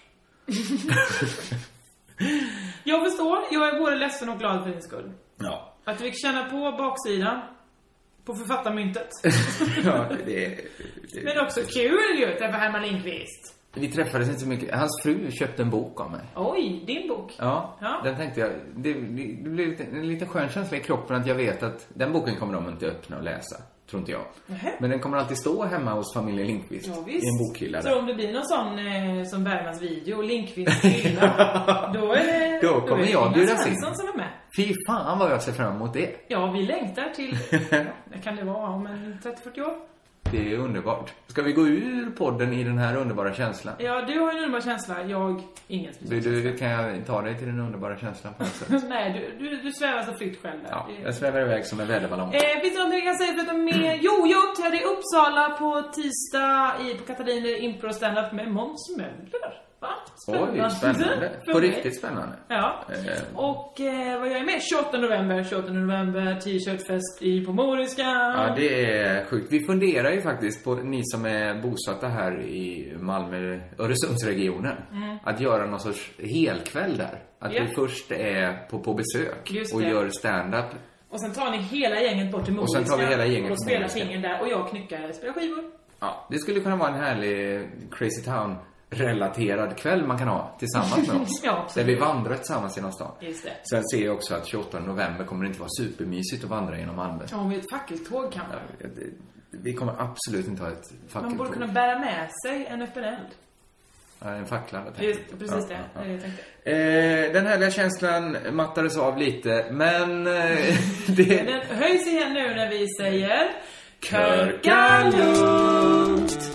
Speaker 8: Jag förstår, jag är både ledsen och glad för din skull.
Speaker 7: Ja.
Speaker 8: Att du fick känna på baksidan. På författarmyntet.
Speaker 7: ja det, är- det,
Speaker 8: Men också kul ju, träffa Herman Lindqvist.
Speaker 7: Vi träffades inte så mycket. Hans fru köpte en bok av mig.
Speaker 8: Oj, din bok.
Speaker 7: Ja,
Speaker 8: Ja.
Speaker 7: den tänkte jag. Det, det blev lite, en liten skön känsla i kroppen att jag vet att den boken kommer de inte öppna och läsa. Tror inte jag.
Speaker 8: Nähä.
Speaker 7: Men den kommer alltid stå hemma hos familjen Lindqvist.
Speaker 8: Ja,
Speaker 7: I
Speaker 8: visst.
Speaker 7: en bokhylla
Speaker 8: Så
Speaker 7: där.
Speaker 8: om det blir någon sån eh, som Bergmans video, Lindqvists hylla, då är det...
Speaker 7: Då kommer
Speaker 8: är det
Speaker 7: jag
Speaker 8: Ingmar
Speaker 7: bjudas in.
Speaker 8: Svensson som är med.
Speaker 7: Fy fan vad jag ser fram emot det.
Speaker 8: Ja, vi längtar till... Ja, det kan det vara om en 30-40 år?
Speaker 7: Det är underbart. Ska vi gå ur podden i den här underbara känslan?
Speaker 8: Ja, du har en underbar känsla. Jag, ingen
Speaker 7: Du,
Speaker 8: speciell
Speaker 7: du, kan jag ta dig till den underbara känslan på något sätt?
Speaker 8: känsla. Nej, du, du, du svävar så fritt själv där.
Speaker 7: Ja,
Speaker 8: Det-
Speaker 7: jag svävar iväg som en väderballong.
Speaker 8: Eh, finns det någonting jag kan säga förutom mer? Jo, jag uppträder i Uppsala på tisdag i, på Katariner Impro Standup med Måns Möller. Va?
Speaker 7: Oj, spännande.
Speaker 8: För
Speaker 7: På
Speaker 8: mig.
Speaker 7: riktigt spännande.
Speaker 8: Eh, Ja.
Speaker 7: Eh.
Speaker 8: Och eh, vad gör jag med? 28 november, 28 november, t-shirtfest i på Moriska.
Speaker 7: Ja, det är sjukt. Vi funderar ju faktiskt på, ni som är bosatta här i Malmö, Öresundsregionen,
Speaker 8: Mm.
Speaker 7: att göra någon sorts helkväll där. Att
Speaker 8: Ja.
Speaker 7: vi först är på, på besök
Speaker 8: Just
Speaker 7: och
Speaker 8: det.
Speaker 7: gör stand-up.
Speaker 8: Och sen tar ni hela gänget bort till
Speaker 7: Och
Speaker 8: Moriska.
Speaker 7: sen tar vi hela gänget
Speaker 8: Och
Speaker 7: till
Speaker 8: spelar
Speaker 7: Moriska.
Speaker 8: pingel där och jag knyckar, spelar skivor.
Speaker 7: Ja, det skulle kunna vara en härlig Crazy Town-relaterad kväll man kan ha tillsammans med oss.
Speaker 8: Ja, absolut.
Speaker 7: där vi vandrar tillsammans genom stan.
Speaker 8: Just det.
Speaker 7: Sen ser jag också att 28 november kommer det inte vara supermysigt att vandra genom Malmö.
Speaker 8: Ja, med ett fackeltåg kanske.
Speaker 7: Det- Vi kommer absolut inte ha ett
Speaker 8: Man borde
Speaker 7: fackeltåg.
Speaker 8: kunna bära med sig en öppen eld.
Speaker 7: Ja, En fackla. jag tänkte.
Speaker 8: Just, precis
Speaker 7: Ja,
Speaker 8: det.
Speaker 7: ja,
Speaker 8: det
Speaker 7: ja.
Speaker 8: jag tänkte.
Speaker 7: Eh, Den härliga känslan mattades av lite, men eh, det...
Speaker 8: Den höjs igen nu när vi säger
Speaker 7: Körka
Speaker 8: lugnt.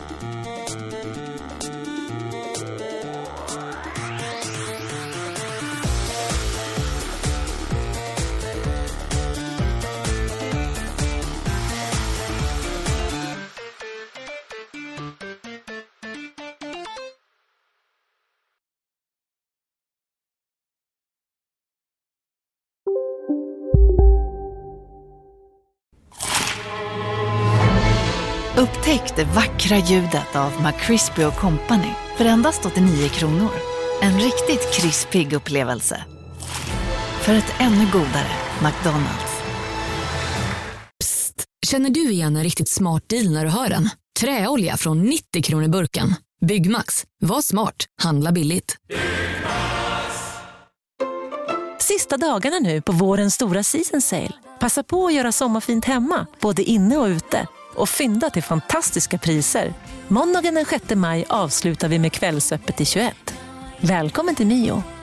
Speaker 11: Upptäck det vackra ljudet av McCrispy Company för endast 89 kronor. En riktigt krispig upplevelse. För ett ännu godare McDonalds.
Speaker 12: Känner du igen en riktigt smart deal när du hör den? Träolja från 90 kronor burken. Byggmax. Var smart. Handla billigt.
Speaker 13: Sista dagarna nu på vårens stora season sale. Passa på att göra sommarfint hemma, både inne och ute. Och fynda till fantastiska priser. Måndagen den 6 maj avslutar vi med Kvällsöppet i 21. Välkommen till Mio.